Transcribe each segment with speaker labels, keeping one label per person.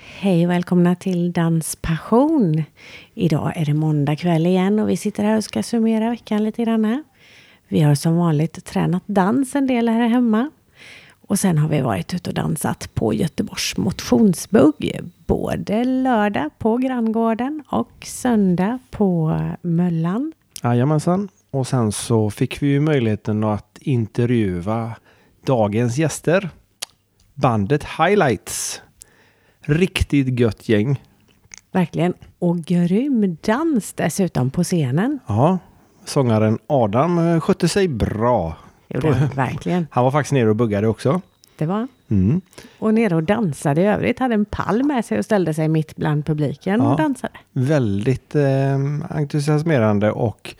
Speaker 1: Hej och välkomna till Danspassion. Idag är det måndag kväll igen och vi sitter här och ska summera veckan lite grann. Vi har som vanligt tränat dans en del här hemma. Och sen har vi varit ute och dansat på Göteborgs motionsbugg. Både lördag på Granngården och söndag på Möllan.
Speaker 2: Jajamensan. Och sen så fick vi ju möjligheten att intervjua dagens gäster. Bandet Highlights. Riktigt gött gäng.
Speaker 1: Verkligen. Och grym dans dessutom på scenen.
Speaker 2: Ja, sångaren Adam eh, skötte sig bra.
Speaker 1: Gjorde den verkligen.
Speaker 2: Han var faktiskt nere och buggade också.
Speaker 1: Det var.
Speaker 2: Mm.
Speaker 1: Och nere och dansade i övrigt. Hade en pall med sig och ställde sig mitt bland publiken och
Speaker 2: Ja.
Speaker 1: dansade.
Speaker 2: Väldigt eh, entusiasmerande och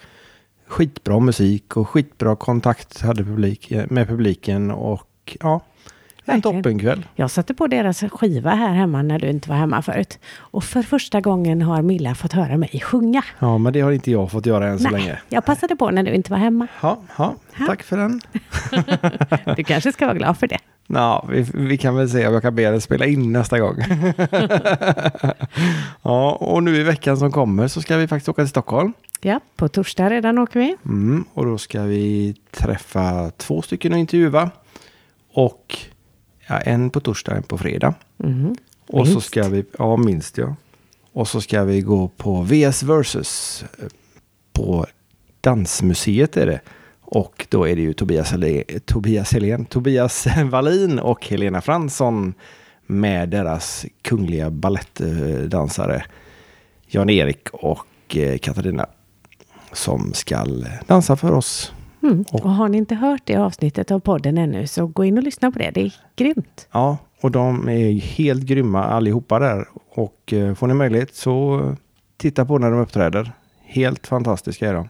Speaker 2: skitbra musik och skitbra kontakt hade publik, eh, med publiken och ja, en
Speaker 1: Verkligen.
Speaker 2: toppenkväll.
Speaker 1: Jag satte på deras skiva här hemma när du inte var hemma förut. Och för första gången har Milla fått höra mig sjunga.
Speaker 2: Ja, men det har inte jag fått göra än så länge.
Speaker 1: jag passade på när du inte var hemma.
Speaker 2: Ja, ja, tack för den.
Speaker 1: Du kanske ska vara glad för det.
Speaker 2: Ja, vi, vi kan väl se om jag kan be den spela in nästa gång. ja, och nu i veckan som kommer så ska vi faktiskt åka till Stockholm.
Speaker 1: Ja, på torsdag redan åker vi.
Speaker 2: Mm, och då ska vi träffa två stycken och intervjua. Och ja, en på torsdag, en på fredag.
Speaker 1: Mm.
Speaker 2: Och så ska vi, ja minst ja. Och så ska vi gå på VS Versus eh, på Dansmuseet är det. Och då är det ju Tobias, Hele- Tobias, Helen, Tobias Wallin och Helena Fransson med deras kungliga balettdansare Jan-Erik och eh, Katarina som ska dansa för oss.
Speaker 1: Mm. Och har ni inte hört det avsnittet av podden ännu så gå in och lyssna på det. Det är grymt.
Speaker 2: Ja, och de är helt grymma allihopa där. Och eh, får ni möjlighet så eh, titta på när de uppträder. Helt fantastiska är de.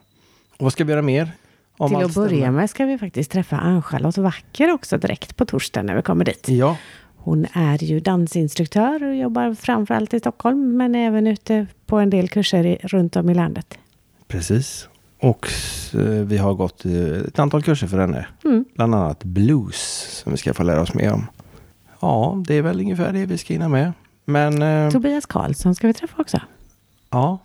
Speaker 2: Och vad ska vi göra mer? Om
Speaker 1: Till
Speaker 2: allt
Speaker 1: att börja
Speaker 2: stämmer.
Speaker 1: med ska vi faktiskt träffa Ann-Charlotte Wacker också direkt på torsdag när vi kommer dit.
Speaker 2: Ja,
Speaker 1: Hon är ju dansinstruktör och jobbar framförallt i Stockholm men även ute på en del kurser i, runt om i landet.
Speaker 2: precis. Och eh, vi har gått eh, ett antal kurser för henne.
Speaker 1: Mm.
Speaker 2: Bland annat blues som vi ska få lära oss mer om. Ja, det är väl ungefär det vi ska hinna med. Men eh,
Speaker 1: Tobias Karlsson ska vi träffa också.
Speaker 2: ja,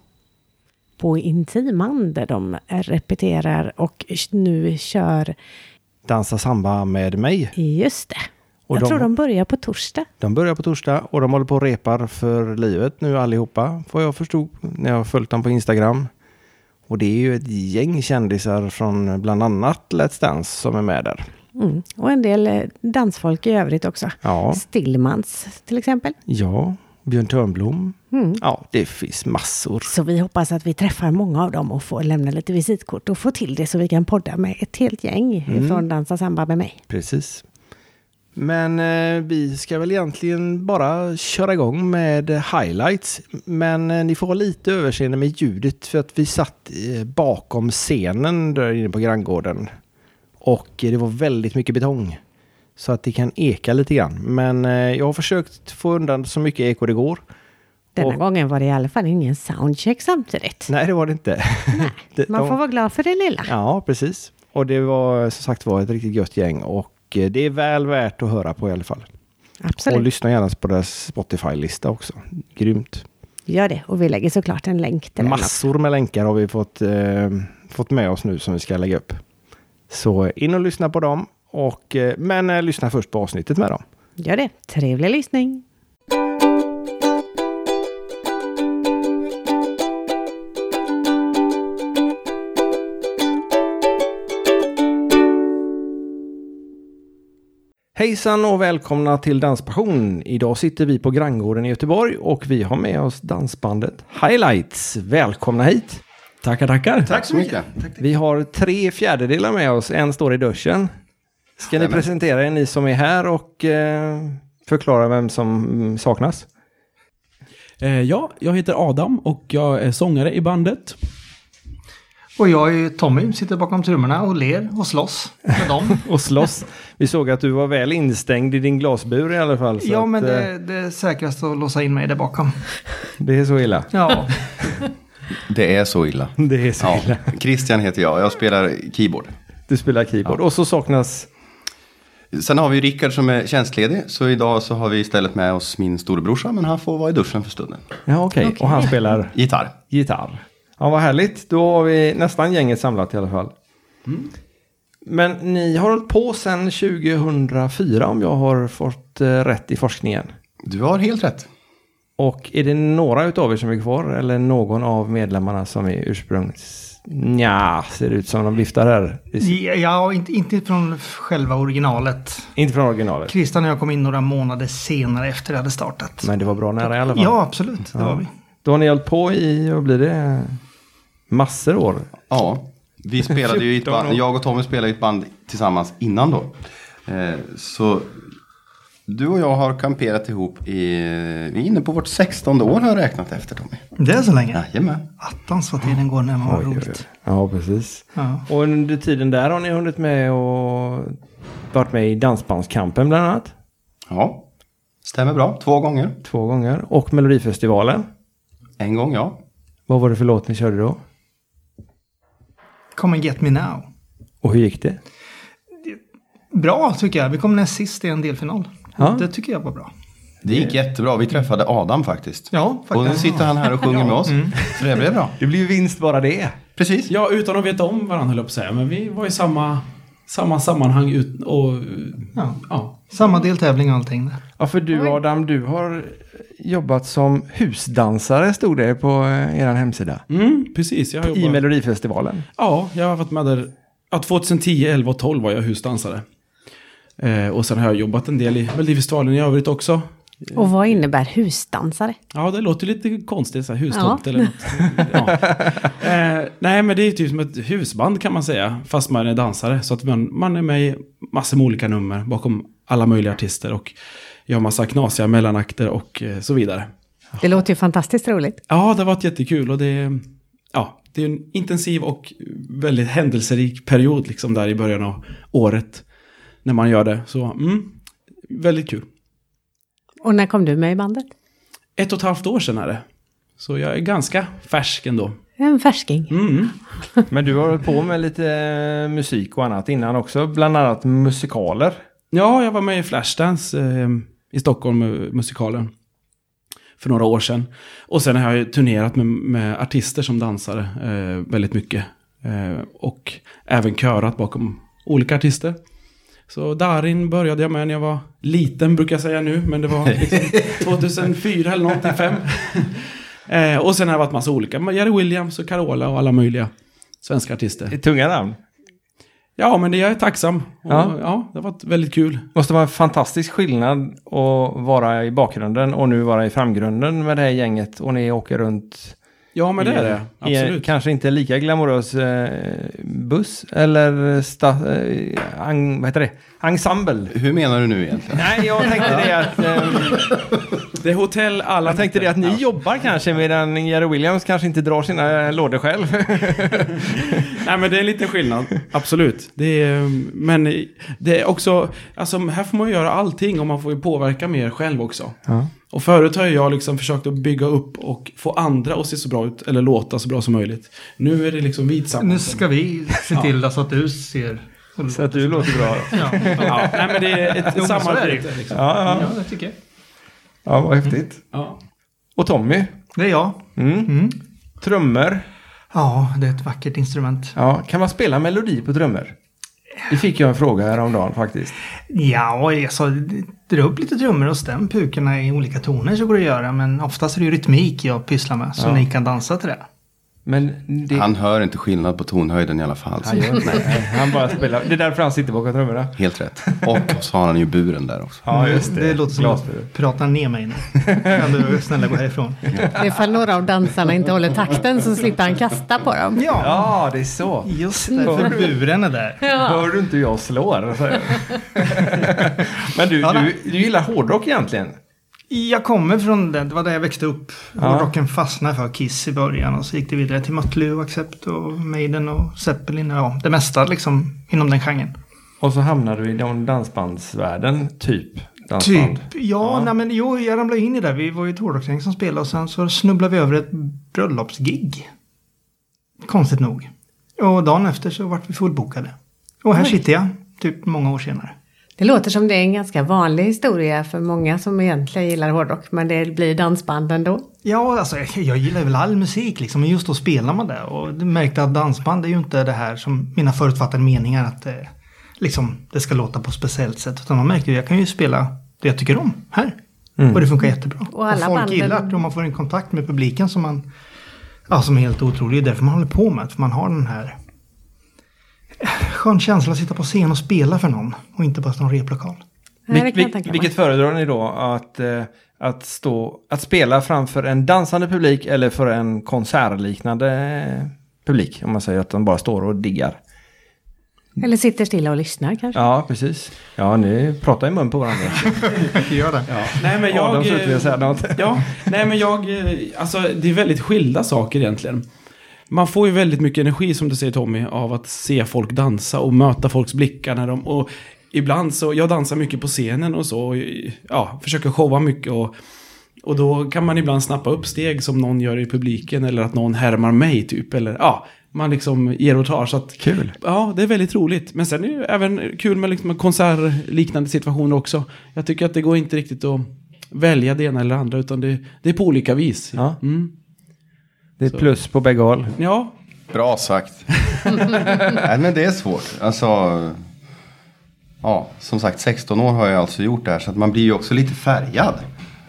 Speaker 1: På Intiman där de repeterar och nu kör,
Speaker 2: dansa samba med mig.
Speaker 1: just det.
Speaker 2: Och
Speaker 1: Jag
Speaker 2: de-
Speaker 1: tror de börjar på torsdag.
Speaker 2: De börjar på torsdag och de håller på och repar för livet nu allihopa, får jag förstå när jag har följt dem på Instagram. Och det är ju ett gäng kändisar från bland annat Let's Dance som är med där.
Speaker 1: Mm. Och en del eh, dansfolk i övrigt också.
Speaker 2: Ja,
Speaker 1: Stillmans till exempel.
Speaker 2: ja Björn Törnblom. Ja, det finns massor.
Speaker 1: Så vi hoppas att vi träffar många av dem och får lämna lite visitkort och få till det så vi kan podda med ett helt gäng
Speaker 2: Mm.
Speaker 1: från Dansa Samba med mig.
Speaker 2: Precis. Men eh, vi ska väl egentligen bara köra igång med highlights. Men eh, ni får ha lite överseende med ljudet för att vi satt eh, bakom scenen där inne på Granngården. Och eh, det var väldigt mycket betong. Så att det kan eka lite grann. Men eh, jag har försökt få undan så mycket eko det går.
Speaker 1: Denna
Speaker 2: Och-
Speaker 1: gången var det i alla fall ingen soundcheck samtidigt.
Speaker 2: Nej, det var det inte. Det-
Speaker 1: Man
Speaker 2: de-
Speaker 1: får vara glad för det lilla.
Speaker 2: Ja, precis. Och det var som sagt var ett riktigt gött gäng. Och eh, det är väl värt att höra på i alla fall. Och
Speaker 1: Absolut.
Speaker 2: lyssna gärna på deras Spotify-lista också. Grymt.
Speaker 1: Gör det. Och vi lägger såklart en länk till den också.
Speaker 2: Massor med länkar har vi fått, eh, fått med oss nu som vi ska lägga upp. Så in och lyssna på dem. Och, eh, men eh, lyssna först på avsnittet med dem.
Speaker 1: Gör det. Trevlig lyssning.
Speaker 2: Hejsan och välkomna till Danspassion. Idag sitter vi på Granngården i Göteborg och vi har med oss dansbandet Highlights. Välkomna hit!
Speaker 3: Tackar, tackar.
Speaker 4: Tack så mycket.
Speaker 2: Vi har tre fjärdedelar med oss, en står i duschen. Ska ni
Speaker 4: Jajamän.
Speaker 2: presentera er, ni som är här, och eh, förklara vem som mm, saknas?
Speaker 3: Eh, ja, jag heter Adam och jag är sångare i bandet.
Speaker 4: Och jag är Tommy, sitter bakom trummorna och ler och slåss med dem.
Speaker 2: och slåss. Vi såg att du var väl instängd i din glasbur i alla fall. Så
Speaker 4: ja,
Speaker 2: att,
Speaker 4: men
Speaker 2: eh,
Speaker 4: det, det är säkrast att låsa in mig där bakom.
Speaker 2: det är så illa.
Speaker 4: Ja,
Speaker 5: Det är så illa.
Speaker 2: Det är så
Speaker 5: Ja,
Speaker 2: illa.
Speaker 5: Christian heter jag, jag spelar keyboard.
Speaker 2: Du spelar keyboard. Och så saknas
Speaker 5: Sen har vi Rickard som är tjänstledig, så idag så har vi istället med oss min storebrorsa, men han får vara i duschen för stunden.
Speaker 2: Ja, okej. Och han spelar
Speaker 5: Gitarr.
Speaker 2: gitarr. Ja, vad härligt. Då har vi nästan gänget samlat i alla fall. Mm. Men ni har hållit på sedan 2004 om jag har fått eh, rätt i forskningen.
Speaker 5: Du har helt rätt.
Speaker 2: Och är det några utav er som är kvar eller någon av medlemmarna som är ursprungs... Nja, ser det ut som de viftar här. Det ser-
Speaker 4: Ja, inte, inte från själva originalet.
Speaker 2: Inte från originalet.
Speaker 4: Christian och jag kom in några månader senare efter det hade startat.
Speaker 2: Men det var bra nära i alla fall.
Speaker 4: Ja, absolut. Det var vi.
Speaker 2: Då har ni hållit på i, vad blir det, massor år?
Speaker 5: Ja, vi spelade ju i ett
Speaker 2: 14
Speaker 5: band,
Speaker 2: år.
Speaker 5: jag och Tommy spelade i ett band tillsammans innan då. Eh, så du och jag har kamperat ihop i, vi är inne på vårt 16 år har jag räknat efter Tommy.
Speaker 4: Det är så länge.
Speaker 5: Jajamän.
Speaker 4: Attans vad tiden går när man har roligt.
Speaker 2: Ja, precis.
Speaker 4: Ja.
Speaker 2: Och under tiden där har ni hunnit med och varit med i Dansbandskampen bland annat.
Speaker 5: Ja, stämmer bra. Två gånger.
Speaker 2: Två gånger. Och Melodifestivalen.
Speaker 5: En gång ja.
Speaker 2: Vad var det för låt ni körde då?
Speaker 4: Come and get me now.
Speaker 2: Och hur gick det?
Speaker 4: Bra tycker jag. Vi kom näst sist i en delfinal.
Speaker 2: Ja.
Speaker 4: Det tycker jag var bra.
Speaker 5: Det gick jättebra. Vi träffade Adam faktiskt.
Speaker 4: Ja,
Speaker 5: Och nu
Speaker 4: faktiskt.
Speaker 5: sitter han här och sjunger med oss. Så det blev bra.
Speaker 2: Det blir ju vinst bara det.
Speaker 5: Precis.
Speaker 3: Ja, utan att veta om varandra höll jag på att säga. Men vi var i samma, samma sammanhang ut, och...
Speaker 4: Ja.
Speaker 3: Ja.
Speaker 4: Samma deltävling och allting. där.
Speaker 2: Ja, för du Adam, du har jobbat som husdansare stod det på eh, er hemsida.
Speaker 3: Mm, precis. Jag har
Speaker 2: I
Speaker 3: jobbat...
Speaker 2: Melodifestivalen.
Speaker 3: Ja, jag har varit med där. Ja, 2010, 11 och 12 var jag husdansare. Eh, och sen har jag jobbat en del i Melodifestivalen i övrigt också.
Speaker 1: Och vad innebär husdansare?
Speaker 3: Ja, det låter lite konstigt, så här, hustomt
Speaker 1: Ja.
Speaker 3: eller något. Ja. Eh, nej, men det är typ som ett husband kan man säga, fast man är dansare. Så att man, man är med i massor med olika nummer bakom alla möjliga artister och gör massa knasiga mellanakter och eh, så vidare.
Speaker 1: Det låter ju fantastiskt roligt.
Speaker 3: Ja, det har varit jättekul och det, ja, det är en intensiv och väldigt händelserik period liksom där i början av året. När man gör det, så mm, väldigt kul.
Speaker 1: Och när kom du med i bandet?
Speaker 3: Ett och ett halvt år sedan är det. Så jag är ganska färsk ändå.
Speaker 1: En färsking.
Speaker 3: Mm.
Speaker 2: Men du har hållit på med lite eh, musik och annat innan också. Bland annat musikaler.
Speaker 3: Ja, jag var med i Flashdance eh, i Stockholm, eh, musikalen. För några år sedan. Och sen har jag ju turnerat med, med artister som dansare eh, väldigt mycket. Eh, och även körat bakom olika artister. Så Darin började jag med när jag var liten, brukar jag säga nu. Men det var liksom 2004 eller någonting, fem. eh, och sen har jag varit massa olika. men Jerry Williams och Carola och alla möjliga svenska artister.
Speaker 2: Tunga namn.
Speaker 3: Ja, men det, jag är tacksam. Och,
Speaker 2: Ja.
Speaker 3: ja. ja, det har varit väldigt kul.
Speaker 2: Måste vara en fantastisk skillnad att vara i bakgrunden och nu vara i framgrunden med det här gänget och ni åker runt.
Speaker 3: Ja, men det
Speaker 2: i-
Speaker 3: är det.
Speaker 2: i en
Speaker 3: Absolut.
Speaker 2: kanske inte lika glamorös eh, buss eller sta, eh, en, vad heter det? ensemble.
Speaker 5: Hur menar du nu egentligen?
Speaker 2: Nej, jag tänkte det att, eh,
Speaker 3: Det är hotell alla
Speaker 2: jag tänkte det att ni jobbar kanske medan Jerry Williams kanske inte drar sina eh, lådor själv.
Speaker 3: Nej, men det är en liten skillnad. Absolut. Det är, ehm, men det är också... Alltså, här får man ju göra allting och man får ju påverka mer själv också.
Speaker 2: Ja.
Speaker 3: Och förut har ju jag liksom försökt att bygga upp och få andra att se så bra ut, eller låta så bra som möjligt. Nu är det liksom vi
Speaker 4: Nu
Speaker 3: tillsammans.
Speaker 4: ska vi se till så att du ser...
Speaker 2: Så att du låter bra.
Speaker 4: Ja,
Speaker 3: Ja, nej, men det är ett
Speaker 4: Jo, men så är det
Speaker 3: samarbete. Liksom.
Speaker 2: Ja, ja.
Speaker 4: ja, det Mm. tycker jag.
Speaker 2: ja vad häftigt.
Speaker 3: Ja.
Speaker 2: Och Tommy,
Speaker 4: Det är jag.
Speaker 2: mm. trummor.
Speaker 4: Ja, det är ett vackert instrument.
Speaker 2: Ja, kan man spela melodi på trummor? Det fick jag en fråga häromdagen faktiskt.
Speaker 4: Ja, och jag sa, dra upp lite trummor och stäm pukorna i olika toner så går det att göra. Men oftast är det ju rytmik jag pysslar med, så ni kan dansa till det.
Speaker 2: Men det...
Speaker 5: Han hör inte skillnad på tonhöjden i alla fall. så-
Speaker 2: Han gör inte det. Han bara spelar. Det är därför han sitter bakom trummorna.
Speaker 5: Helt rätt. Och så har han ju buren där också.
Speaker 2: Ja, just det.
Speaker 4: Mm, Det låter som att
Speaker 2: Glasburen.
Speaker 4: du pratar ner mig nu. Kan du snälla gå härifrån?
Speaker 1: Ifall några av dansarna inte håller takten så slipper han kasta på dem.
Speaker 4: Ja,
Speaker 2: Ja, det är så.
Speaker 4: just därför buren är där.
Speaker 2: Hör du inte hur jag slår? säger jag. Men du,
Speaker 4: Ja, då.
Speaker 2: du, du gillar hårdrock egentligen?
Speaker 4: Jag kommer från den, det var där jag växte upp.
Speaker 2: Ja.
Speaker 4: Hårdrocken fastnade för Kiss i början och så gick det vidare till Mötley och Accept och Maiden och Zeppelin. och Ja, det mesta liksom inom den genren.
Speaker 2: Och så hamnar du i den dansbandsvärlden, typ. Dansband.
Speaker 4: Typ, ja, Nej, men jo, jag ramlade in i det. Vi var ju ett hårdrocksgäng som spelade och sen så snubblade vi över ett bröllopsgig. Konstigt nog. Och dagen efter så vart vi fullbokade. Och här sitter jag, typ många år senare.
Speaker 1: Det låter som det är en ganska vanlig historia för många som egentligen gillar hårdrock, men det blir dansband ändå.
Speaker 4: Ja, alltså jag- jag gillar väl all musik liksom, men just då spelar man det. Och du märkte att dansband är ju inte det här som mina förutfattade meningar att eh, liksom, det ska låta på ett speciellt sätt. Utan man märker ju, jag kan ju spela det jag tycker om här. Och det funkar jättebra.
Speaker 1: Och alla
Speaker 4: folk
Speaker 1: banden-
Speaker 4: gillar det och man får en kontakt med publiken som man, ja som är helt otrolig. Det är därför man håller på med det, för man har den här eh, skön känsla att sitta på scen och spela för någon. Och inte bara som replokal.
Speaker 1: Nej, det
Speaker 2: Vil-
Speaker 1: kan jag
Speaker 2: vil-
Speaker 1: tänka mig.
Speaker 2: vilket föredrar ni då? Att, eh, att, stå, att spela framför en dansande publik eller för en konsertliknande eh, publik? Om man säger att de bara står och diggar.
Speaker 1: Eller sitter stilla och lyssnar kanske.
Speaker 2: Ja, precis. Ja, ni pratar i mun på varandra.
Speaker 4: Gör det.
Speaker 3: Nej, men
Speaker 2: Adam
Speaker 3: jag... eh,
Speaker 2: ser ut att säga något.
Speaker 3: Ja, nej men jag, eh, alltså det är väldigt skilda saker egentligen. Man får ju väldigt mycket energi som du säger Tommy av att se folk dansa och möta folks blickar när de, och ibland så, jag dansar mycket på scenen och så, och, ja, försöker showa mycket och, och då kan man ibland snappa upp steg som någon gör i publiken eller att någon härmar mig typ, eller ja, man liksom ger och tar så att...
Speaker 6: Kul.
Speaker 3: Ja, det är väldigt roligt. Men sen är det ju även kul med liksom konsertliknande situationer också. Jag tycker att det går inte riktigt att välja det ena eller det andra, utan det, det är på olika vis.
Speaker 2: Ja.
Speaker 3: Mm.
Speaker 2: Det är ett plus på bägge håll.
Speaker 3: ja.
Speaker 5: Bra sagt. Nej, men det är svårt. Alltså, ja, som sagt, 16 år har jag alltså gjort det här. Så att man blir ju också lite färgad.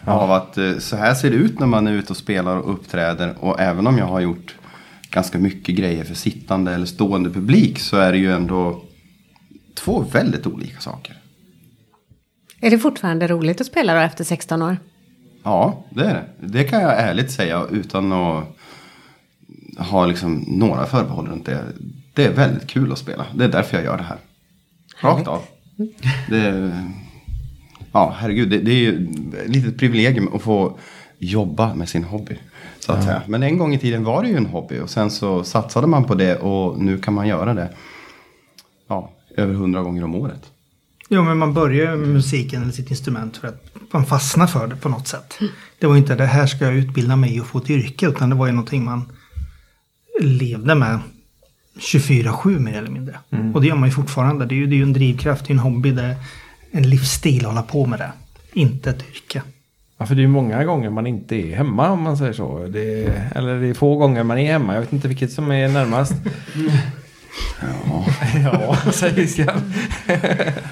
Speaker 5: Av att eh, så här ser det ut när man är ute och spelar och uppträder. Och även om jag har gjort ganska mycket grejer för sittande eller stående publik. Så är det ju ändå två väldigt olika saker.
Speaker 1: Är det fortfarande roligt att spela då efter 16 år?
Speaker 5: Ja, det är det. Det kan jag ärligt säga utan att ha liksom några förbehåll runt det. Det är väldigt kul att spela. Det är därför jag gör det här. Rakt av. Det är, ja, herregud. Det, det är ju ett litet privilegium att få jobba med sin hobby. Så att säga. Men en gång i tiden var det ju en hobby och sen så satsade man på det och nu kan man göra det ja, över hundra gånger om året.
Speaker 4: Jo, men man börjar ju med musiken eller sitt instrument för att man fastnar för det på något sätt. Det var ju inte det här ska jag utbilda mig i och få ett yrke, utan det var ju någonting man levde med 24-7 mer eller mindre.
Speaker 2: Mm.
Speaker 4: Och det gör man ju fortfarande. Det är ju, det är ju en drivkraft, det är ju en hobby, det är en livsstil att hålla på med det. Inte ett yrke.
Speaker 2: Ja, för det är ju många gånger man inte är hemma om man säger så. Det är, eller det är få gånger man är hemma. Jag vet inte vilket som är närmast. ja. ja, säger Christian.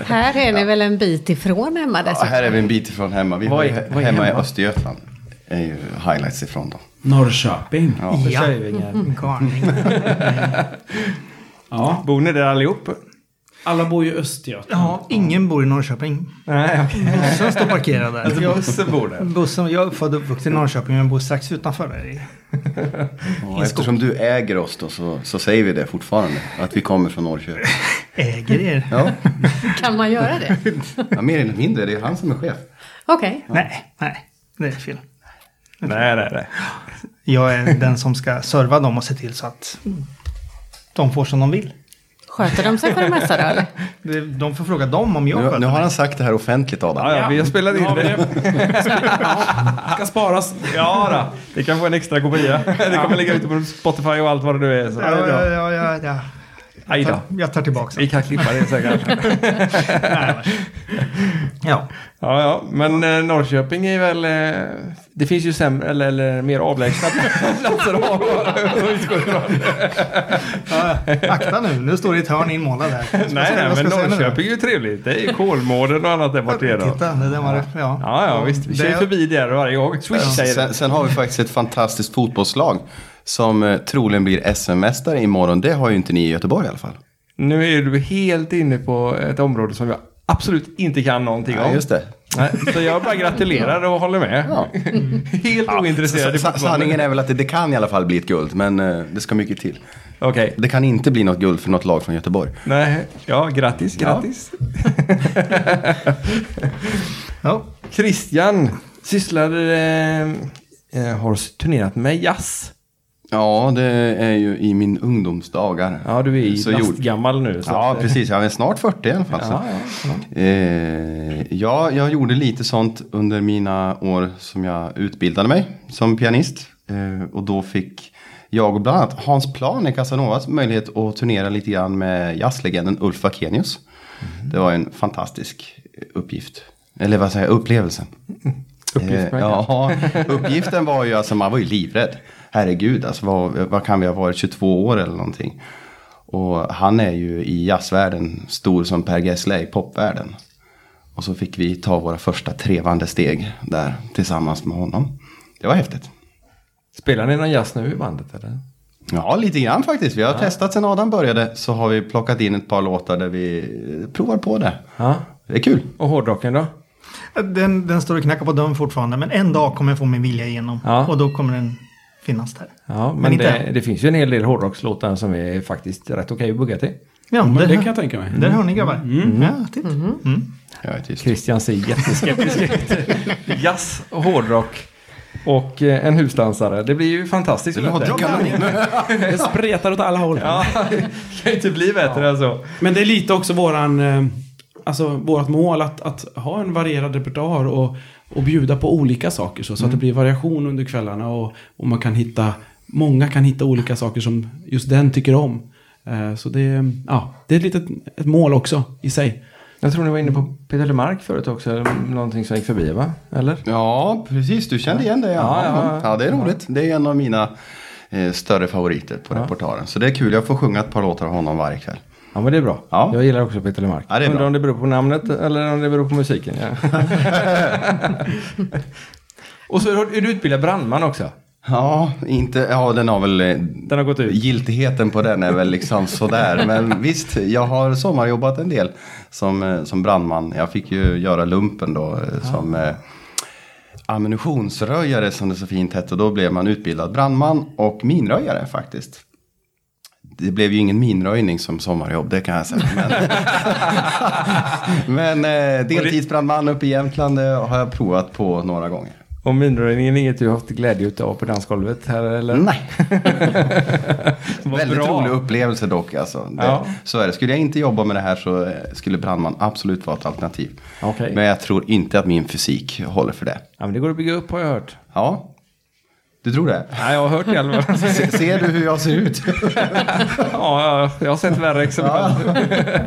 Speaker 1: Här är ni väl en bit ifrån hemma
Speaker 5: Ja,
Speaker 1: dessutom?
Speaker 5: här är vi en bit ifrån hemma. Vi
Speaker 2: Alltså- Vad
Speaker 5: var ju
Speaker 2: är-
Speaker 5: he-
Speaker 2: vad är
Speaker 5: hemma, i
Speaker 2: hemma?
Speaker 5: Östergötland. är ju highlights ifrån då.
Speaker 3: Norrköping. Ja.
Speaker 5: Ja.
Speaker 4: Ja. Mm.
Speaker 2: Försäljningen.
Speaker 4: Garning.
Speaker 2: Bor ni där allihop?
Speaker 3: Alla bor ju i Östergötland.
Speaker 4: Ja, ingen bor i Norrköping.
Speaker 2: Nej, okej.
Speaker 4: Bussen står parkerad där.
Speaker 2: Jag också bor där.
Speaker 4: Bussen, jag är född och uppvuxen i Norrköping men bor strax utanför där. i-
Speaker 5: Ja, eftersom du äger oss då så, så säger vi det fortfarande. Att vi kommer från Norrköping.
Speaker 4: Äger er.
Speaker 5: Ja,
Speaker 1: Kan man göra det?
Speaker 5: ja mer eller mindre. Det är han som är chef.
Speaker 1: Okej.
Speaker 4: Nej, nej, det är fel.
Speaker 2: Nej, nej, nej.
Speaker 4: Jag är den som ska serva dem och se till så att de får som de vill.
Speaker 1: Sköter de sig för det mesta då eller?
Speaker 4: Det- De får fråga dem om jag
Speaker 5: Nu,
Speaker 4: sköter
Speaker 5: nu
Speaker 4: mig.
Speaker 5: har han sagt det här offentligt Adam.
Speaker 2: Ja, ja, vi har spelat in
Speaker 3: Ja, men
Speaker 2: det.
Speaker 3: det- Ja, Ska sparas.
Speaker 2: Ja, då. Det kan få en extra kopia. Det kommer lägga ut på Spotify och allt vad det nu är. Så.
Speaker 4: Ja, ja, ja, ja, ja.
Speaker 2: Aj då.
Speaker 4: Jag tar tillbaka
Speaker 2: Vi
Speaker 4: det.
Speaker 2: kan klippa det säkert.
Speaker 4: Ja.
Speaker 2: Ja, ja. Men eh, Norrköping är väl... Eh, det finns ju sämre eller, eller mer avlägsna platser att ha- utgå ifrån.
Speaker 4: Ja, Akta nu, nu står det ett hörn inmålat här. Ska jag
Speaker 2: Nej,
Speaker 4: säga-
Speaker 2: nej,
Speaker 4: vad
Speaker 2: men
Speaker 4: ska jag säga nu?
Speaker 2: Norrköping är ju trevligt. Det är ju Kolmården och annat där borta. är då.
Speaker 4: Titta, det där var det. Ja,
Speaker 2: Ja, ja, visst. Vi kör ju
Speaker 4: Det-
Speaker 2: förbi där varje gång. Swish säger det.
Speaker 5: Eh, Sen, sen har vi faktiskt ett fantastiskt fotbollslag. Som eh, troligen blir SM-mästare imorgon. Det har ju inte ni i Göteborg i alla fall.
Speaker 2: Nu är du helt inne på ett område som jag absolut inte kan någonting
Speaker 5: Ja,
Speaker 2: om.
Speaker 5: just det.
Speaker 2: Nej, så jag bara gratulerar och håller med.
Speaker 5: Ja.
Speaker 2: Helt ointresserad i
Speaker 5: Sa- sa-
Speaker 2: fotboll.
Speaker 5: Sanningen är väl att det, det kan i alla fall bli ett guld. Men eh, det ska mycket till.
Speaker 2: Okej.
Speaker 5: Det kan inte bli något guld för något lag från Göteborg.
Speaker 2: Nej, ja, grattis,
Speaker 5: Ja.
Speaker 2: grattis.
Speaker 4: Ja.
Speaker 2: Christian sysslar, eh, eh, har turnerat med jazz.
Speaker 5: Ja, det är ju i min ungdomsdagar.
Speaker 2: Ja, du är
Speaker 5: Så
Speaker 2: ju
Speaker 5: gjorde-
Speaker 2: gammal nu. Så
Speaker 5: Ja,
Speaker 2: att, eh,
Speaker 5: precis. Jag är snart 40 i alla fall. så.
Speaker 2: Ja, ja,
Speaker 5: Eh, ja, jag gjorde lite sånt under mina år som jag utbildade mig som pianist. Eh, och då fick jag och bland annat Hans Plan i Casanovas möjlighet att turnera lite grann med jazzlegenden Ulf Akenius.
Speaker 2: Mm.
Speaker 5: Det var en fantastisk uppgift. Eller vad säger jag, upplevelse.
Speaker 2: Uppgift,
Speaker 5: Eh, ja, uppgiften var ju alltså, man var ju livrädd. Herregud, alltså, vad, vad kan vi ha varit, 22 år eller någonting. Och han är ju i jazzvärlden stor som Per Gessle i popvärlden. Och så fick vi ta våra första trevande steg där tillsammans med honom. Det var häftigt.
Speaker 2: Spelar ni någon jazz nu i bandet eller?
Speaker 5: Ja, lite grann faktiskt. Vi har testat sedan Adam började så har vi plockat in ett par låtar där vi eh, provar på det.
Speaker 2: Ja.
Speaker 5: Det är kul.
Speaker 2: Och hårdrocken då?
Speaker 4: Den, den står och knackar på dörren fortfarande, men en dag kommer jag få min vilja igenom.
Speaker 2: Ja.
Speaker 4: Och då kommer den finnas där.
Speaker 2: Ja, men,
Speaker 4: Men inte
Speaker 2: det,
Speaker 4: än.
Speaker 2: det finns ju en hel del hårdrockslåtar som är faktiskt rätt okej att bugga till.
Speaker 4: Ja,
Speaker 3: men
Speaker 4: där,
Speaker 3: det kan jag tänka mig.
Speaker 4: Där hör ni grabbar.
Speaker 2: Mm.
Speaker 4: Ja, titt. Mm.
Speaker 5: Jag är tyst.
Speaker 2: Christian ser jätteskeptisk ut. Jazz, hårdrock och eh, en husdansare. Det blir ju fantastiskt.
Speaker 5: Det låter kanon.
Speaker 3: Det spretar åt alla håll.
Speaker 2: Ja, det kan ju inte bli bättre än så.
Speaker 3: Men det är lite också våran, eh, alltså vårat mål att, att ha en varierad repertoar och, och bjuda på olika saker så, så att det blir variation under kvällarna och, och man kan hitta, många kan hitta olika saker som just den tycker om. Eh, Så det, ja, det är ett litet ett mål också i sig.
Speaker 2: Jag tror ni var inne på Peter Lemark förut också. eller Någonting som gick förbi va? Eller?
Speaker 5: Ja, precis. Du kände igen det. Ja,
Speaker 2: Ja,
Speaker 5: ja,
Speaker 2: ja, ja.
Speaker 5: det är roligt. Det är en av mina eh, större favoriter på repertoaren. Så det är kul. Jag får sjunga ett par låtar av honom varje kväll.
Speaker 2: Ja men det är bra.
Speaker 5: Ja.
Speaker 2: Jag gillar också Peter Lemark.
Speaker 5: Ja, det är
Speaker 2: Undrar
Speaker 5: bra.
Speaker 2: om det beror på namnet eller om det beror på musiken. Ja. och så är du utbildad brandman också.
Speaker 5: Ja, inte, ja den har väl... eh,
Speaker 2: Den har gått ut.
Speaker 5: Giltigheten på den är väl liksom sådär. Men visst, jag har sommarjobbat en del som, eh, som brandman. Jag fick ju göra lumpen då eh, som eh, ammunitionsröjare som det så fint hette. Och då blev man utbildad brandman och minröjare faktiskt. Det blev ju ingen minröjning som sommarjobb, det kan jag säga. Men, men eh, deltidsbrandman uppe i Jämtland eh, har jag provat på några gånger.
Speaker 2: Och minröjningen är inget du har haft glädje utav på dansgolvet här eller?
Speaker 5: Nej.
Speaker 2: Vad
Speaker 5: Väldigt
Speaker 2: bra.
Speaker 5: rolig upplevelse dock. Alltså. Det,
Speaker 2: Ja.
Speaker 5: Så är det. Skulle jag inte jobba med det här så eh, skulle brandman absolut vara ett alternativ.
Speaker 2: Okej.
Speaker 5: Men jag tror inte att min fysik håller för det.
Speaker 2: Ja men det går att bygga upp har jag hört.
Speaker 5: Ja, du tror det?
Speaker 2: Nej jag har hört det i alla fall.
Speaker 5: Se- Ser du hur jag ser ut?
Speaker 2: Ja, ja, jag har sett värre exempel.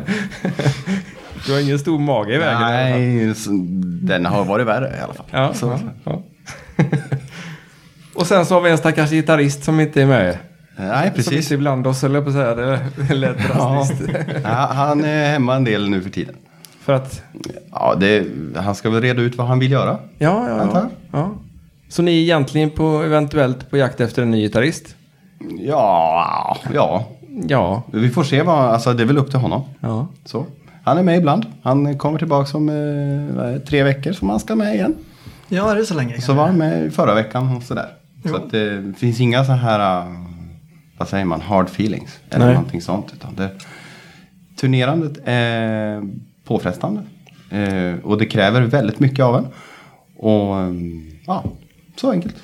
Speaker 2: Du har ingen stor mage i vägen. i alla fall.
Speaker 5: Nej, så- den har varit värre i alla fall.
Speaker 2: Ja,
Speaker 5: Så-
Speaker 2: ja, ja. Och sen så har vi en stackars gitarrist som inte är med.
Speaker 5: Nej,
Speaker 2: Som
Speaker 5: precis.
Speaker 2: inte är bland oss, eller på att säga. Det lät
Speaker 5: Ja.
Speaker 2: drastiskt.
Speaker 5: Ja, Han är hemma en del nu för tiden.
Speaker 2: För att...
Speaker 5: Ja, det, han ska väl reda ut vad han vill göra.
Speaker 2: Ja, ja,
Speaker 5: Antar
Speaker 2: ja.
Speaker 5: jag.
Speaker 2: ja. Så ni är egentligen på, eventuellt på jakt efter en ny gitarrist?
Speaker 5: Ja, ja.
Speaker 2: Ja.
Speaker 5: Vi får se vad, alltså det är väl upp till honom.
Speaker 2: Ja.
Speaker 5: Så. Han är med ibland. Han kommer tillbaka om eh, vad är det, tre veckor som han ska med igen.
Speaker 4: Ja, det är så länge.
Speaker 5: Så var han med förra veckan och sådär. Så att eh, det finns inga så här, eh, vad säger man, hard feelings. Eller
Speaker 2: Nej.
Speaker 5: någonting sånt. Utan det, turnerandet är påfrestande. Eh, och det kräver väldigt mycket av en. Och eh, ja, så enkelt.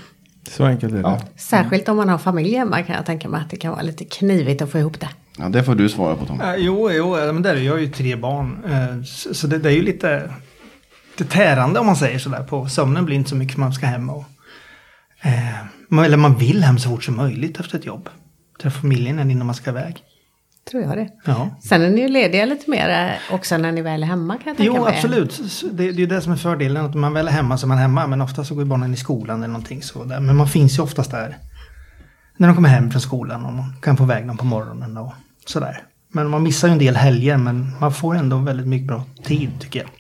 Speaker 2: Så enkelt är det.
Speaker 5: Ja.
Speaker 1: Särskilt om man har familj hemma kan jag tänka mig att det kan vara lite knivigt att få ihop det.
Speaker 5: Ja, det får du svara på Tom.
Speaker 4: Eh, jo, jo, eh, men där, är jag har ju tre barn. eh, Så, så det, det är ju lite, lite tärande om man säger sådär. På sömnen blir inte så mycket för man ska hem och... Eh, man- eller man vill hem så fort som möjligt efter ett jobb. Träffa familjen än innan man ska iväg.
Speaker 1: Tror jag det.
Speaker 4: Ja.
Speaker 1: Sen är ni ju lediga lite mer eh, också när ni väl är hemma kan jag tänka
Speaker 4: Jo,
Speaker 1: mig.
Speaker 4: absolut. Så- så Det, det är ju det som är fördelen. Att man väl är hemma så är man hemma. Men ofta så går ju barnen i skolan eller någonting sådär. Men man finns ju oftast där. När de kommer hem från skolan och man kan få iväg dem på morgonen och sådär. Men man missar ju en del helger. Men man får ändå väldigt mycket bra tid tycker jag.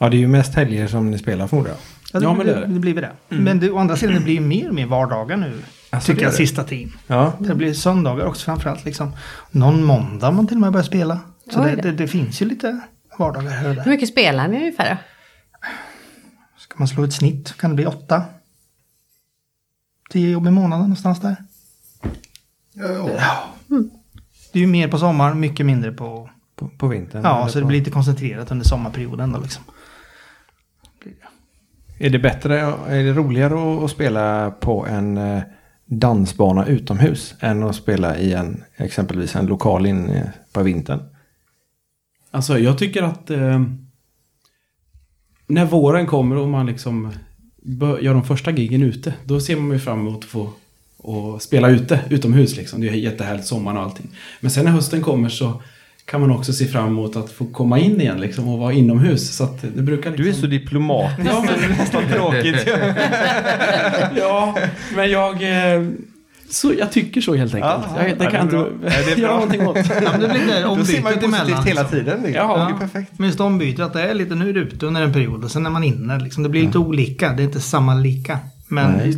Speaker 2: Ja, det är ju mest helger som ni spelar förmodar jag.
Speaker 4: Ja, det,
Speaker 3: Ja,
Speaker 4: blir,
Speaker 3: men det är det. Mm.
Speaker 4: det blir väl det. Men det, å andra sidan, det blir ju mer och mer vardagar nu.
Speaker 2: Alltså, det
Speaker 4: tycker
Speaker 2: är
Speaker 4: jag,
Speaker 2: det.
Speaker 4: sista tiden.
Speaker 2: Ja.
Speaker 4: Det blir söndagar också framförallt. Liksom. Någon måndag man till och med börjar spela. Så
Speaker 1: Oj
Speaker 4: det,
Speaker 1: då.
Speaker 4: det, det finns ju lite vardagar här och
Speaker 1: Hur
Speaker 4: där.
Speaker 1: mycket spelar ni ungefär då?
Speaker 4: Ska man slå ett snitt så kan det bli åtta. Tio jobb i månaden någonstans där. Ja. Det är ju mer på sommaren, mycket mindre på...
Speaker 2: På, på vintern?
Speaker 4: Ja,
Speaker 2: eller
Speaker 4: så det
Speaker 2: på...
Speaker 4: blir lite koncentrerat under sommarperioden då liksom.
Speaker 2: Är det bättre, är det roligare att- att spela på en eh, dansbana utomhus än att spela i en, exempelvis en lokal in eh, på vintern?
Speaker 3: Alltså jag tycker att eh, när våren kommer och man liksom bör- gör de första giggen ute, då ser man ju fram emot att få och spela ute, utomhus liksom. Det är jättehärligt, sommaren och allting. Men sen när hösten kommer så kan man också se fram emot att få komma in igen liksom, och vara inomhus. Så att det brukar liksom...
Speaker 2: Du är så diplomatisk.
Speaker 3: Ja, men-
Speaker 2: det är nästan tråkigt.
Speaker 3: Ja, men jag... eh, Så, jag tycker så helt enkelt.
Speaker 2: Ja,
Speaker 3: jag, det
Speaker 2: ja,
Speaker 3: kan
Speaker 2: det är bra.
Speaker 3: jag
Speaker 2: Ja, det är
Speaker 3: inte
Speaker 2: bra.
Speaker 3: göra någonting åt.
Speaker 4: Ja, men det blir det
Speaker 2: Då ser man ju
Speaker 4: ombytet emellan.
Speaker 2: positivt hela
Speaker 4: liksom.
Speaker 2: tiden. liksom.
Speaker 3: Ja.
Speaker 2: Det är
Speaker 4: Ja,
Speaker 2: perfekt.
Speaker 4: Men just ombytet, att det är lite nu är du ute under en period och sen är man inne. Liksom, det blir lite olika, det är inte samma lika. Men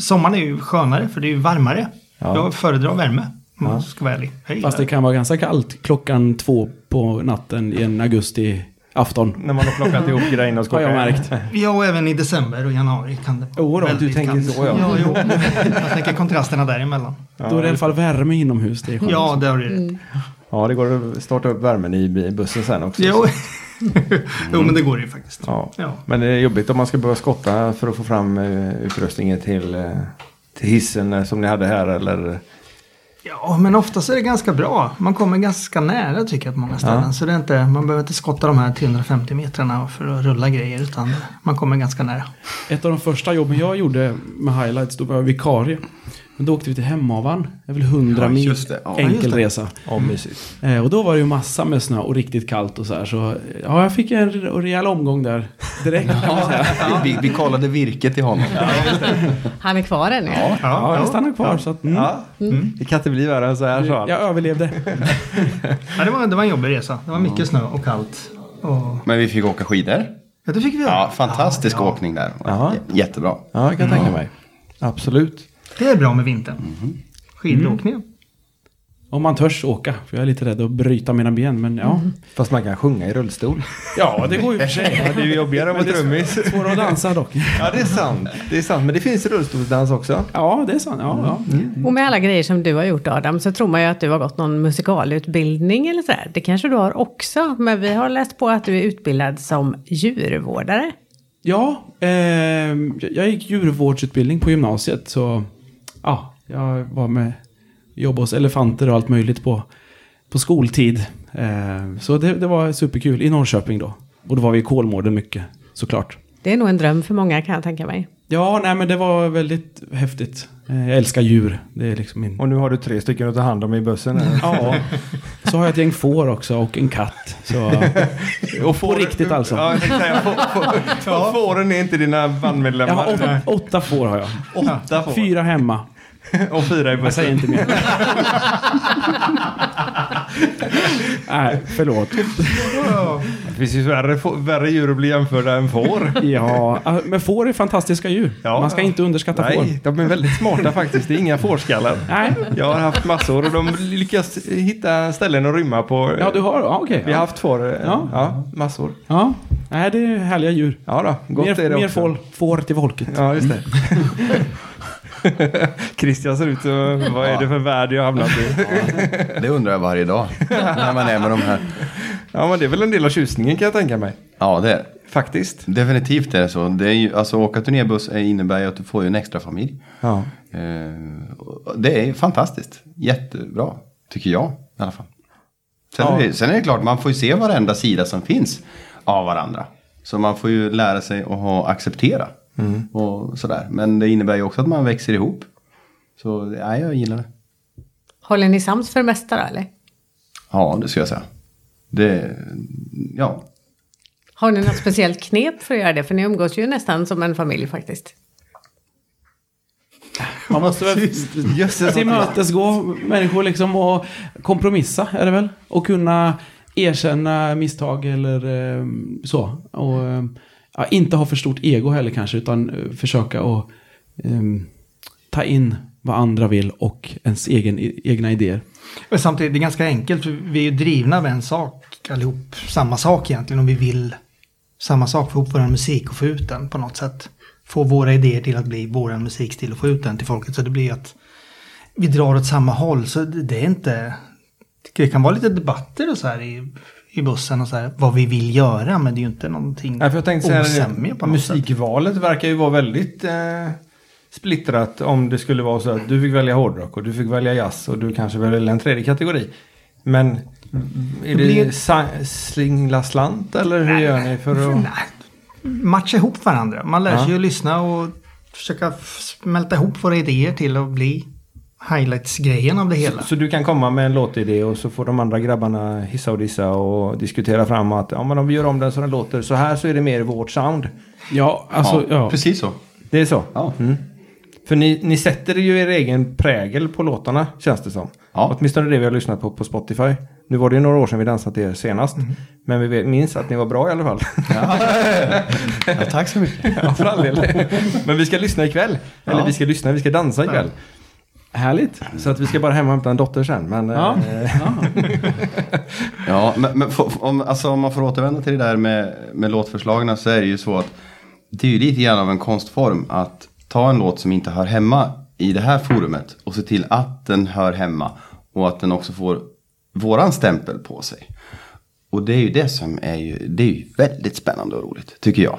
Speaker 4: sommaren är ju skönare för det är ju varmare. Jag föredrar värme om man ska vara ärlig. Jag gillar
Speaker 3: Fast det kan vara ganska kallt klockan två på natten i en augusti afton.
Speaker 2: När man har plockat ihop grejerna och
Speaker 3: Har
Speaker 2: skockat.
Speaker 3: jag märkt.
Speaker 4: Ja, och även i december och januari kan det vara
Speaker 2: Jo då,
Speaker 4: väldigt
Speaker 2: du tänker
Speaker 4: kallt.
Speaker 2: så, ja.
Speaker 4: ja jo. Jag tänker kontrasterna däremellan.
Speaker 3: Då är det i alla fall värme inomhus. Det är skönt.
Speaker 4: Ja, det har du rätt.
Speaker 2: Ja, det går att starta upp värmen i bi- bussen sen också.
Speaker 4: Jo. jo, men det går ju faktiskt.
Speaker 2: Ja.
Speaker 4: Ja.
Speaker 2: Men det är jobbigt om man ska behöva skotta för att få fram eh, utrustningen till, eh, till hissen eh, som ni hade här. Eller...
Speaker 4: Ja, men oftast är det ganska bra. Man kommer ganska nära tycker jag på många ställen. Så det är inte, man behöver inte skotta de här 350 metrarna för att rulla grejer utan man kommer ganska nära.
Speaker 3: Ett av de första jobben jag gjorde med highlights, då var jag vikarie. Men då åkte vi till Hemavan. Det är väl 100
Speaker 5: Ja,
Speaker 3: mil
Speaker 5: just det. Ja,
Speaker 3: enkel
Speaker 4: just det.
Speaker 3: resa.
Speaker 2: Ja, mysigt.
Speaker 3: Eh, och då var det ju massa med snö och riktigt kallt och så här. Så ja, jag fick en re- rejäl omgång där direkt. kan man säga.
Speaker 5: Vi, vi kollade virket i honom.
Speaker 7: Han är kvar ännu. Ja.
Speaker 3: Ja, jag stannade kvar så att, mm,
Speaker 2: Ja. Det kan inte bli värre än så här, sa han.
Speaker 3: jag överlevde.
Speaker 4: Ja, det, var, det var en jobbig resa. Det var
Speaker 2: Mm.
Speaker 4: mycket snö och kallt. Och,
Speaker 5: Men vi fick åka skidor.
Speaker 4: ja, det fick vi göra.
Speaker 5: Ja, fantastisk
Speaker 4: Ja, ja.
Speaker 5: åkning där.
Speaker 2: Jaha.
Speaker 5: J- Jättebra.
Speaker 2: Ja, jag kan tänka mig. Absolut.
Speaker 4: Det är bra med vintern.
Speaker 2: Mm-hmm. Mm.
Speaker 4: Skidåkningen.
Speaker 3: Om man törs åka, för jag är lite rädd att bryta mina ben. Men ja,
Speaker 2: Fast man kan sjunga i rullstol.
Speaker 3: ja det går ju för sig.
Speaker 2: Ja, det är ju jobbigare att vara trummis.
Speaker 3: Svårare att dansa dock.
Speaker 2: Ja, det är sant. Det är sant. Men det finns rullstolsdans också.
Speaker 3: Ja, det är sant. Ja, ja.
Speaker 7: Och med alla grejer som du har gjort Adam så tror man ju att du har gått någon musikalutbildning eller sådär. Det kanske du har också, men vi har läst på att du är utbildad som djurvårdare.
Speaker 3: Ja, ehm, jag gick djurvårdsutbildning på gymnasiet så ja, jag var med jobbade hos elefanter och allt möjligt på, på skoltid. Ehm, så det, det var superkul i Norrköping då. Och då var vi i Kolmården mycket såklart.
Speaker 7: Det är nog en dröm för många kan jag tänka mig.
Speaker 3: Ja, nej men det var väldigt häftigt. Ehm, jag älskar djur. Det är liksom min...
Speaker 2: Och nu har du tre stycken att ta hand om i bussen. eller?
Speaker 3: Ja, så har jag ett gäng får också och en katt. Så, och på riktigt alltså.
Speaker 2: Ja, jag tänkte säga, får, får, fåren är inte dina
Speaker 3: Jag har
Speaker 2: bandmedlemmar.
Speaker 3: åtta, åtta får har jag.
Speaker 2: åtta får.
Speaker 3: Fyra hemma.
Speaker 2: Och fyra i
Speaker 3: Jag säger
Speaker 2: bussen.
Speaker 3: inte mer. Nej, förlåt.
Speaker 2: Det finns ju värre, få- värre djur att bli jämförda än får.
Speaker 3: Ja, alltså, men får är fantastiska djur.
Speaker 2: Ja.
Speaker 3: Man ska inte underskatta får.
Speaker 2: Nej, de är väldigt smarta faktiskt. Det är inga fårskallar.
Speaker 3: Nej.
Speaker 2: Jag har haft massor och de lyckas hitta ställen att rymma på.
Speaker 3: Ja, du har. Ja, okej.
Speaker 2: Vi har haft får, ja.
Speaker 3: Ja.
Speaker 2: Ja, massor.
Speaker 3: Ja. Nej, det är härliga djur.
Speaker 2: Ja då, gott är
Speaker 3: Mer,
Speaker 2: det
Speaker 3: mer
Speaker 2: också.
Speaker 3: får, får till folket.
Speaker 2: Ja, just det. Christian ser ut som, vad är det för värld jag har hamnat i?
Speaker 5: Det undrar jag varje dag. När man är med de här.
Speaker 2: Ja, men det är väl en del av tjusningen kan jag tänka mig.
Speaker 5: Ja, det är det.
Speaker 2: Faktiskt.
Speaker 5: Definitivt är det så. Det är ju, alltså, åka turnébuss är- innebär ju att du får ju en extra familj.
Speaker 2: Ja.
Speaker 5: Eh, och det är fantastiskt. Jättebra, tycker jag i alla fall. Sen, är det, sen är det klart, man får ju se varenda sida som finns av varandra. Så man får ju lära sig att ha, acceptera. Mm. Och sådär. Men det innebär ju också att man växer ihop. Så ja, jag gillar det.
Speaker 7: Håller ni sams för det mesta då eller?
Speaker 5: Ja, det skulle jag säga. Det, ja,
Speaker 7: Har ni något speciellt knep för att göra det? För ni umgås ju nästan som en familj faktiskt.
Speaker 3: Man måste väl
Speaker 2: Jösses.
Speaker 3: till mötes gå människor liksom och kompromissa är det väl? Och kunna erkänna misstag eller eh, så. Och eh, ja, inte ha för stort ego heller kanske utan eh, försöka att eh, ta in vad andra vill och ens egen, egna idéer.
Speaker 4: Men samtidigt, det är ganska enkelt. för Vi är ju drivna av en sak allihop. Samma sak egentligen. Om vi vill samma sak. Få ihop vår musik och få ut den på något sätt. Få våra idéer till att bli vår musikstil och få ut den till folket. Så det blir att vi drar åt samma håll. Så det det är inte... Det kan vara lite debatter och så här i, i bussen och så här. Vad vi vill göra. Men det är ju inte någonting
Speaker 2: Nej, för jag tänkte säga
Speaker 4: osämja
Speaker 2: det,
Speaker 4: på något sätt.
Speaker 2: musikvalet verkar ju vara väldigt eh, splittrat om det skulle vara så att du fick välja hårdrock och du fick välja jazz och du kanske väljer en tredje kategori. Men är det,
Speaker 4: blir-
Speaker 2: sa- singla slant eller hur gör ni för att...
Speaker 4: Nej. Matcha ihop varandra. Man lär
Speaker 2: Ja.
Speaker 4: sig ju lyssna och försöka f- smälta ihop våra idéer till att bli highlights-grejen av det hela.
Speaker 2: Så, så du kan komma med en låtidé och så får de andra grabbarna hissa och dissa och diskutera fram att ja, men om vi gör om den så den låter så här så är det mer vårt sound.
Speaker 3: Ja, alltså, ja.
Speaker 5: ja. Precis så.
Speaker 2: Det är så?
Speaker 5: Ja.
Speaker 2: Mm. För ni, ni sätter ju er egen prägel på låtarna känns det som.
Speaker 5: Ja.
Speaker 2: Åtminstone det vi har lyssnat på på Spotify. Nu var det ju några år sedan vi dansat till er senast.
Speaker 5: Mm.
Speaker 2: Men vi vet- minns att ni var bra i alla fall.
Speaker 5: Ja, tack så mycket.
Speaker 2: Ja, för all del. Men vi ska lyssna ikväll. Eller
Speaker 5: Ja.
Speaker 2: vi ska lyssna, vi ska dansa ikväll. Härligt. Så att vi ska bara hem och hämta en dotter sen. Men,
Speaker 3: Ja.
Speaker 2: eh,
Speaker 3: ja.
Speaker 5: Ja, men, men f- f- om, alltså, om man får återvända till det där med, med låtförslagen så är det ju så att det är ju lite grann av en konstform att ta en låt som inte hör hemma i det här forumet och se till att den hör hemma och att den också får våran stämpel på sig. Och det är ju det som är ju, det är ju väldigt spännande och roligt, tycker jag.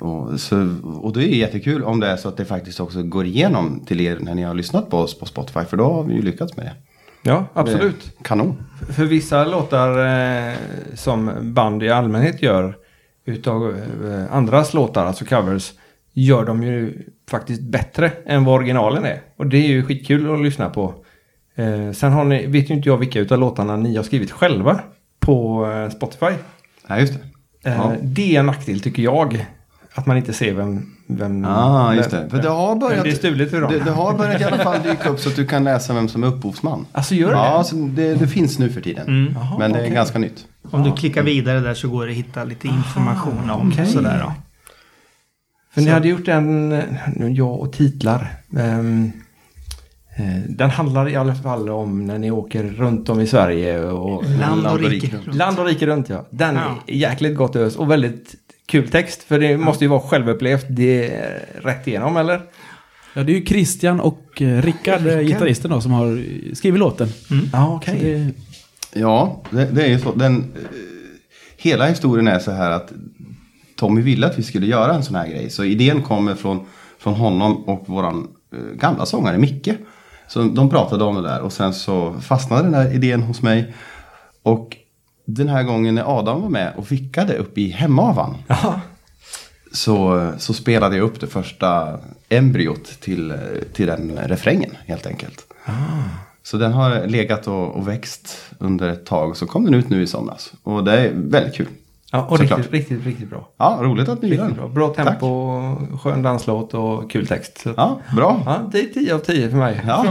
Speaker 5: Och, så, och det är ju jättekul om det är så att det faktiskt också går igenom till er när ni har lyssnat på oss på Spotify, för då har vi ju lyckats med det.
Speaker 2: ja, absolut.
Speaker 5: Det är Kanon.
Speaker 2: För vissa låtar eh, som band i allmänhet gör utav eh, andras låtar, alltså covers, gör de ju faktiskt bättre än vad originalen är. Och det är ju skitkul att lyssna på. Eh, sen har ni, vet ju inte jag vilka utav låtarna ni har skrivit själva på eh, Spotify.
Speaker 5: Ja, just det.
Speaker 2: Eh,
Speaker 5: Ja.
Speaker 2: Det är en nackdel tycker jag. Att man inte ser vem... vem
Speaker 5: Ah, just
Speaker 2: vem-
Speaker 5: det. För det har börjat,
Speaker 2: Mm. Det är stulet för dem.
Speaker 5: Det, det har börjat i alla fall dyka upp så att du kan läsa vem som är upphovsman.
Speaker 2: Alltså gör det? Mm.
Speaker 5: Ja, så det, det finns nu för tiden.
Speaker 2: Jaha,
Speaker 5: Men det är
Speaker 2: okej.
Speaker 5: ganska nytt.
Speaker 4: Om du klickar vidare där så går det att hitta lite information om
Speaker 2: okej.
Speaker 4: sådär. Då.
Speaker 2: För ni hade gjort en, eh, nu jag och titlar. ehm, eh, den handlar i alla fall om när ni åker runt om i Sverige. Och,
Speaker 4: Land och rike.
Speaker 5: rike.
Speaker 2: land och rike runt ja. Den
Speaker 4: Ja.
Speaker 2: är jäkligt gott ös och väldigt kul text. För det måste ju vara självupplevt det är rätt igenom eller?
Speaker 3: ja, det är ju Christian och eh, Rickard, eh, gitarristen då, som har eh, skrivit låten.
Speaker 2: Ja,
Speaker 3: Så det-
Speaker 5: Ja, det, det är ju så. Den, eh, hela historien är så här att Tommy ville att vi skulle göra en sån här grej. Så idén kommer från, från honom och våran eh, gamla sångare Micke. Så de pratade om det där och sen så fastnade den här idén hos mig. Och den här gången när Adam var med och vickade upp i hemavan. Så, så spelade jag upp det första embryot till, eh, till den refrängen helt enkelt.
Speaker 2: Ah.
Speaker 5: Så den har legat och, och växt under ett tag. Så kom den ut nu i somras. Och det är väldigt kul.
Speaker 2: Ja, och
Speaker 5: Såklart.
Speaker 2: riktigt, riktigt, riktigt bra.
Speaker 5: Ja, roligt att ni gillar
Speaker 2: Riktigt bra.
Speaker 5: den.
Speaker 2: Bra
Speaker 5: Tack.
Speaker 2: tempo, skön danslåt och kul text. Så att, ja.
Speaker 5: Ja, bra.
Speaker 2: det är 10 av 10 för mig.
Speaker 5: Ja.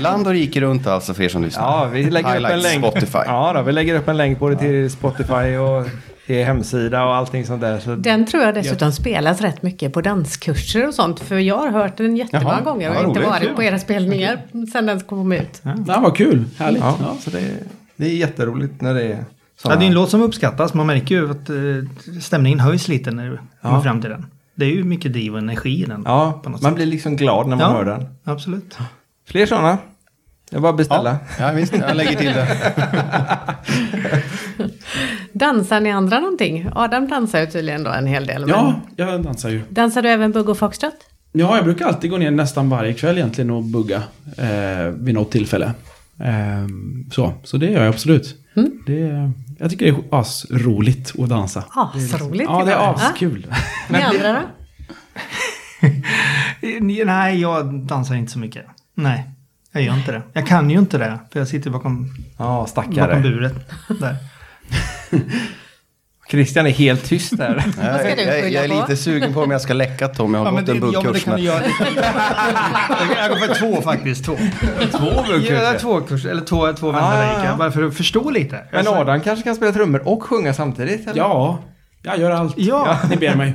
Speaker 5: Land och rike runt alltså för er som lyssnar.
Speaker 2: Ja, vi lägger upp en
Speaker 5: Highlights
Speaker 2: länk.
Speaker 5: Spotify.
Speaker 2: Ja, då, vi lägger upp en länk både till Spotify och till hemsida och allting sånt där. Så
Speaker 7: Den tror jag dessutom spelas rätt mycket på danskurser och sånt. För jag har hört den jättemånga
Speaker 5: Jaha,
Speaker 7: gånger och
Speaker 5: ja,
Speaker 7: inte
Speaker 5: roligt.
Speaker 7: varit på era spelningar sen den kom ut.
Speaker 3: Ja, vad kul. Härligt.
Speaker 2: ja,
Speaker 3: Ja.
Speaker 2: så det, det är jätteroligt när det är
Speaker 4: Ja, det är en
Speaker 2: här.
Speaker 4: låt som uppskattas. Man märker ju att eh, stämningen höjs lite när du kommer fram till den. Det är ju mycket driv och energi i den.
Speaker 2: Ja,
Speaker 4: på något
Speaker 2: man
Speaker 4: sätt.
Speaker 2: blir liksom glad när man
Speaker 4: Ja.
Speaker 2: hör den.
Speaker 4: Absolut.
Speaker 2: Fler sådana? Jag bara beställa.
Speaker 5: ja, visst. Jag lägger till det.
Speaker 7: Dansar ni andra någonting? Adam dansar ju tydligen då en hel del. men-
Speaker 3: ja, jag dansar ju.
Speaker 7: Dansar du även bugg och foxtrot?
Speaker 3: Ja, jag brukar alltid gå ner nästan varje kväll egentligen och bugga eh, vid något tillfälle. Eh, så, så det gör jag absolut. Det, jag tycker det är asroligt att dansa.
Speaker 7: Asroligt.
Speaker 3: Ja, det är
Speaker 7: grabbar.
Speaker 3: askul.
Speaker 7: Ja, Ni andra då?
Speaker 4: Eh, Nej, jag dansar inte så mycket. Nej, jag gör inte det. Jag kan ju inte det. För jag sitter bakom,
Speaker 2: Ja,
Speaker 4: bakom
Speaker 2: stackare.
Speaker 4: buret. Där.
Speaker 2: Christian är helt tyst där.
Speaker 7: ska
Speaker 5: Jag,
Speaker 7: du
Speaker 5: jag,
Speaker 7: skylla
Speaker 5: jag är
Speaker 7: på?
Speaker 5: lite sugen på om jag ska läcka Tom. Jag har gått en buggkurs. men-
Speaker 4: göra. jag går för två faktiskt. Två.
Speaker 2: Två
Speaker 4: Ja, två kurser, eller två, två vändor
Speaker 2: Ah,
Speaker 4: där
Speaker 2: ja,
Speaker 4: gick
Speaker 2: ja.
Speaker 4: jag. Bara för att förstå lite. Alltså-
Speaker 2: Men Adam kanske kan spela trummor och sjunga samtidigt? Eller?
Speaker 3: Ja, jag gör allt.
Speaker 4: Ja.
Speaker 3: Ni ber mig.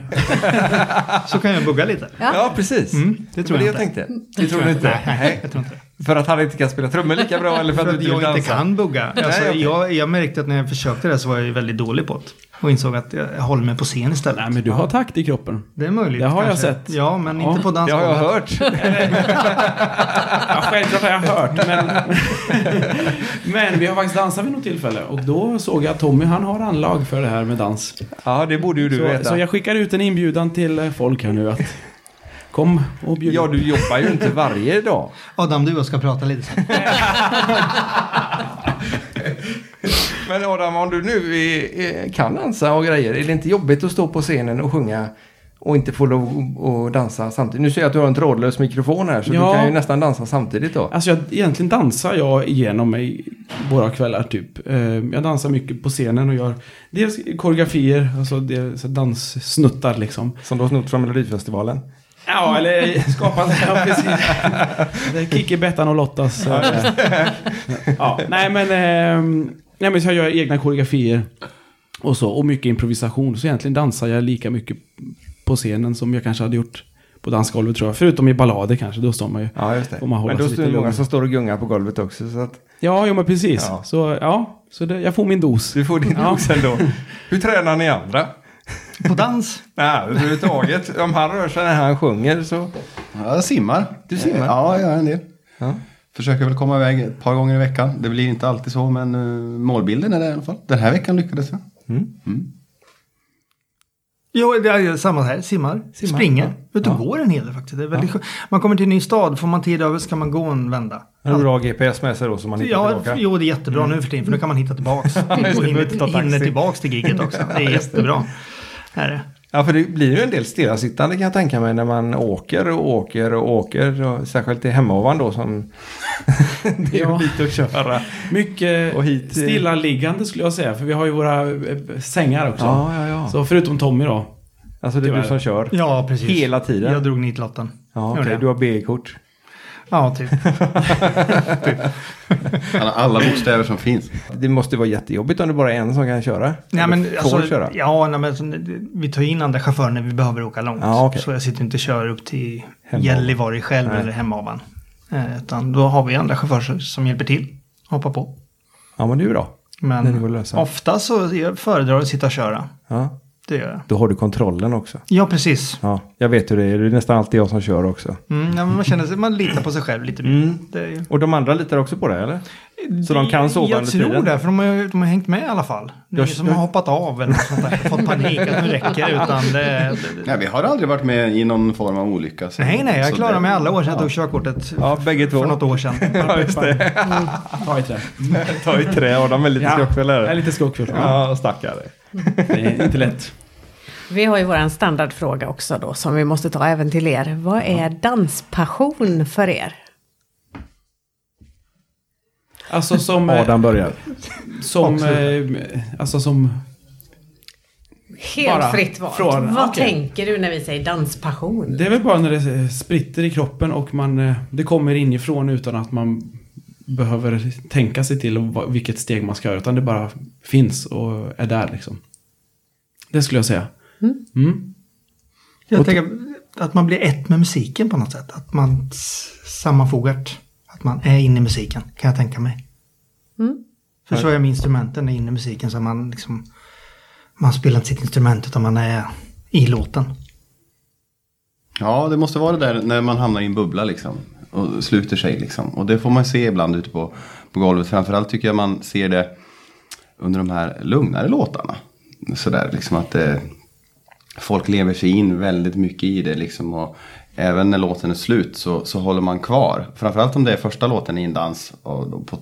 Speaker 4: Så kan jag bugga lite.
Speaker 2: ja precis.
Speaker 4: Mm, det tror
Speaker 2: var
Speaker 4: jag
Speaker 2: det jag
Speaker 4: inte.
Speaker 2: tänkte. Det tror du inte? Nej.
Speaker 4: Jag tror inte det.
Speaker 2: För att han inte kan spela trummor lika bra eller för att,
Speaker 4: För
Speaker 2: du
Speaker 4: att
Speaker 2: inte vill
Speaker 4: jag inte
Speaker 2: dansa?
Speaker 4: kan bugga. Alltså,
Speaker 2: Nej, okej.
Speaker 4: jag, jag märkte att när jag försökte det så var jag ju väldigt dålig på det. Och insåg att jag håller mig på scen istället.
Speaker 3: Nej, men du har takt i kroppen.
Speaker 4: Det är möjligt.
Speaker 3: Det har jag
Speaker 4: kanske.
Speaker 3: sett.
Speaker 4: Ja, men
Speaker 3: Ja,
Speaker 4: inte på
Speaker 2: Det har
Speaker 4: dansgolvet.
Speaker 2: jag hört.
Speaker 3: Ja, självklart har jag hört, men... men vi har faktiskt dansat vid något tillfälle och då såg jag att Tommy, han har anlag för det här med dans.
Speaker 2: Ja, det borde ju du
Speaker 3: Så,
Speaker 2: veta.
Speaker 3: så jag skickar ut en inbjudan till eh, folk här nu att kom och bjud
Speaker 2: Ja, du jobbar ju inte varje dag.
Speaker 4: Adam, du och jag ska prata lite.
Speaker 2: Men Adam, om du nu är, är, kan dansa och grejer, är det inte jobbigt att stå på scenen och sjunga och inte får lov att dansa samtidigt. Nu ser jag att du har en trådlös mikrofon här så
Speaker 3: Ja.
Speaker 2: du kan ju nästan dansa samtidigt då.
Speaker 3: Alltså jag, egentligen dansar jag igenom mig våra kvällar typ. Eh, Jag dansar mycket på scenen och gör dels koreografier, alltså dels danssnuttar liksom.
Speaker 2: Som du har snott från Melodifestivalen.
Speaker 3: Ja, eller skapar ja, precis. Det är Kikki, Bettan och Lottas. eh, ja, nej men... ehm, Nej men så jag gör egna koreografier. Och så, och mycket improvisation. Så egentligen dansar jag lika mycket på scenen som jag kanske hade gjort på dansgolvet tror jag. Förutom i ballader kanske, då står man ju...
Speaker 2: Ja, just det.
Speaker 3: Får man hålla
Speaker 2: Men då
Speaker 3: sig
Speaker 2: står
Speaker 3: lite
Speaker 2: det många
Speaker 3: lugn.
Speaker 2: som står och gungar på golvet också. Så att
Speaker 3: Ja, jo men precis.
Speaker 2: Ja.
Speaker 3: Så ja, så det, jag får min dos.
Speaker 2: du får din
Speaker 3: Ja.
Speaker 2: dos ändå. Hur tränar ni andra?
Speaker 4: På dans?
Speaker 2: Nej, överhuvudtaget. Om han rör sig när han sjunger så...
Speaker 5: Ja, jag simmar.
Speaker 2: Du simmar?
Speaker 5: Ja, jag gör en del.
Speaker 2: Ja.
Speaker 5: Försöker väl komma iväg ett par gånger i veckan. Det blir inte alltid så, men eh, målbilden är det i alla fall. Den här veckan lyckades jag.
Speaker 4: Jo, det är samma här. Simmar,
Speaker 2: Simmar,
Speaker 4: springer, ut och går en hel del faktiskt. Det är väldigt skönt. Man kommer till en ny stad, får man tid över ska man gå en vända.
Speaker 2: Han har bra GPS med sig då som man hittar
Speaker 4: Ja,
Speaker 2: tillbaka. Mm.
Speaker 4: jo, det är jättebra nu för tiden, för nu kan man hitta tillbaks.
Speaker 2: behöver
Speaker 4: Och
Speaker 2: inte ta
Speaker 4: hinner,
Speaker 2: taxi.
Speaker 4: hinner tillbaks till gigget också. Det är jättebra. Här är det.
Speaker 2: Ja, för det blir ju en del stillasittande kan jag tänka mig när man åker och åker och åker. Och särskilt till Hemavan då som... det är
Speaker 3: Ja.
Speaker 2: ja. dit att köra.
Speaker 3: Mycket
Speaker 2: Och hit-
Speaker 3: stillaliggande skulle jag säga, för vi har ju våra eh, sängar också.
Speaker 2: Ja, ja, ja.
Speaker 3: Så förutom Tommy då.
Speaker 2: Alltså det är du
Speaker 3: Tyvärr.
Speaker 2: som kör.
Speaker 4: Ja, precis.
Speaker 2: Hela tiden.
Speaker 4: Jag drog nitlotten.
Speaker 2: Ja, okej.
Speaker 4: Gjorde jag.
Speaker 2: Du har B-kort.
Speaker 4: Ja, typ.
Speaker 5: Alla, alla bokstäver som finns.
Speaker 2: Det måste vara jättejobbigt om det bara är en som kan köra.
Speaker 4: Nej,
Speaker 2: Eller
Speaker 4: men,
Speaker 2: får
Speaker 4: alltså,
Speaker 2: köra.
Speaker 4: Ja, nej, men, alltså, vi tar in andra chaufförer när vi behöver åka långt.
Speaker 2: Ja, okej.
Speaker 4: Så jag sitter inte och kör upp till
Speaker 2: Hemavan.
Speaker 4: Gällivare själv
Speaker 2: Nej.
Speaker 4: eller Hemavan. Eh, Utan då har vi andra chaufförer som hjälper till. Hoppa på.
Speaker 2: Ja, men det är bra. Det går att
Speaker 4: Men
Speaker 2: lösa.
Speaker 4: ofta så jag föredrar att sitta och köra.
Speaker 2: Ja.
Speaker 4: Det gör jag.
Speaker 2: Då har du kontrollen också.
Speaker 4: Ja, precis.
Speaker 2: Ja, jag vet hur det är. Det är nästan alltid jag som kör också.
Speaker 4: Mm, ja, men man känner sig, man litar på sig själv lite mer. Det är ju...
Speaker 2: Och de andra litar också på det, eller? Mm. Så de kan sova
Speaker 4: Jag
Speaker 2: under
Speaker 4: tror
Speaker 2: tiden?
Speaker 4: det, för de har, ju- de har hängt med i alla fall. Det är
Speaker 2: Jag-
Speaker 4: ingen som har hoppat av eller något sånt där. Fått panik att nu räcker det, utan det, det,
Speaker 5: Nej, vi har aldrig varit med i någon form av olycka. så-
Speaker 4: Nej, nej,
Speaker 5: så
Speaker 4: jag
Speaker 5: det-
Speaker 4: klarade mig alla år sedan jag tog körkortet.
Speaker 2: Ja, bägge två.
Speaker 4: För något år sedan.
Speaker 2: Ja, just det.
Speaker 3: Ta i trä.
Speaker 2: Ta i trä och de är lite skrockfulla.
Speaker 3: jag är
Speaker 2: eller?
Speaker 3: lite skockfull.
Speaker 2: Ja, stackare.
Speaker 3: Det är inte lätt.
Speaker 7: Vi har ju vår standardfråga också då som vi måste ta även till er. Vad är danspassion för er?
Speaker 3: Alltså som... eh,
Speaker 2: Adam börjar.
Speaker 3: Som... eh, Alltså som...
Speaker 7: Helt
Speaker 3: Bara
Speaker 7: fritt valt.
Speaker 3: från-
Speaker 7: Vad
Speaker 3: okej.
Speaker 7: tänker du när vi säger danspassion?
Speaker 3: Det är väl bara när det eh, spritter i kroppen och man... eh, Det kommer inifrån utan att man behöver tänka sig till vad- vilket steg man ska göra. Utan det bara finns och är där liksom. Det skulle jag säga. Mm.
Speaker 4: Jag tänker att man blir ett med musiken på något sätt. Att man s- sammanfogar det. Att man är inne i musiken, kan jag tänka mig. För så är med instrumenten, är inne i musiken. Så man liksom... Man spelar inte sitt instrument utan man är i låten.
Speaker 5: Ja, det måste vara det där när man hamnar i en bubbla liksom. Och sluter sig liksom. Och det får man se ibland ute på, på golvet. Framförallt tycker jag man ser det under de här lugnare låtarna. Sådär liksom att eh, folk lever sig in väldigt mycket i det liksom. Och även när låten är slut så, så håller man kvar. Framförallt om det är första låten i en dans. Och då på,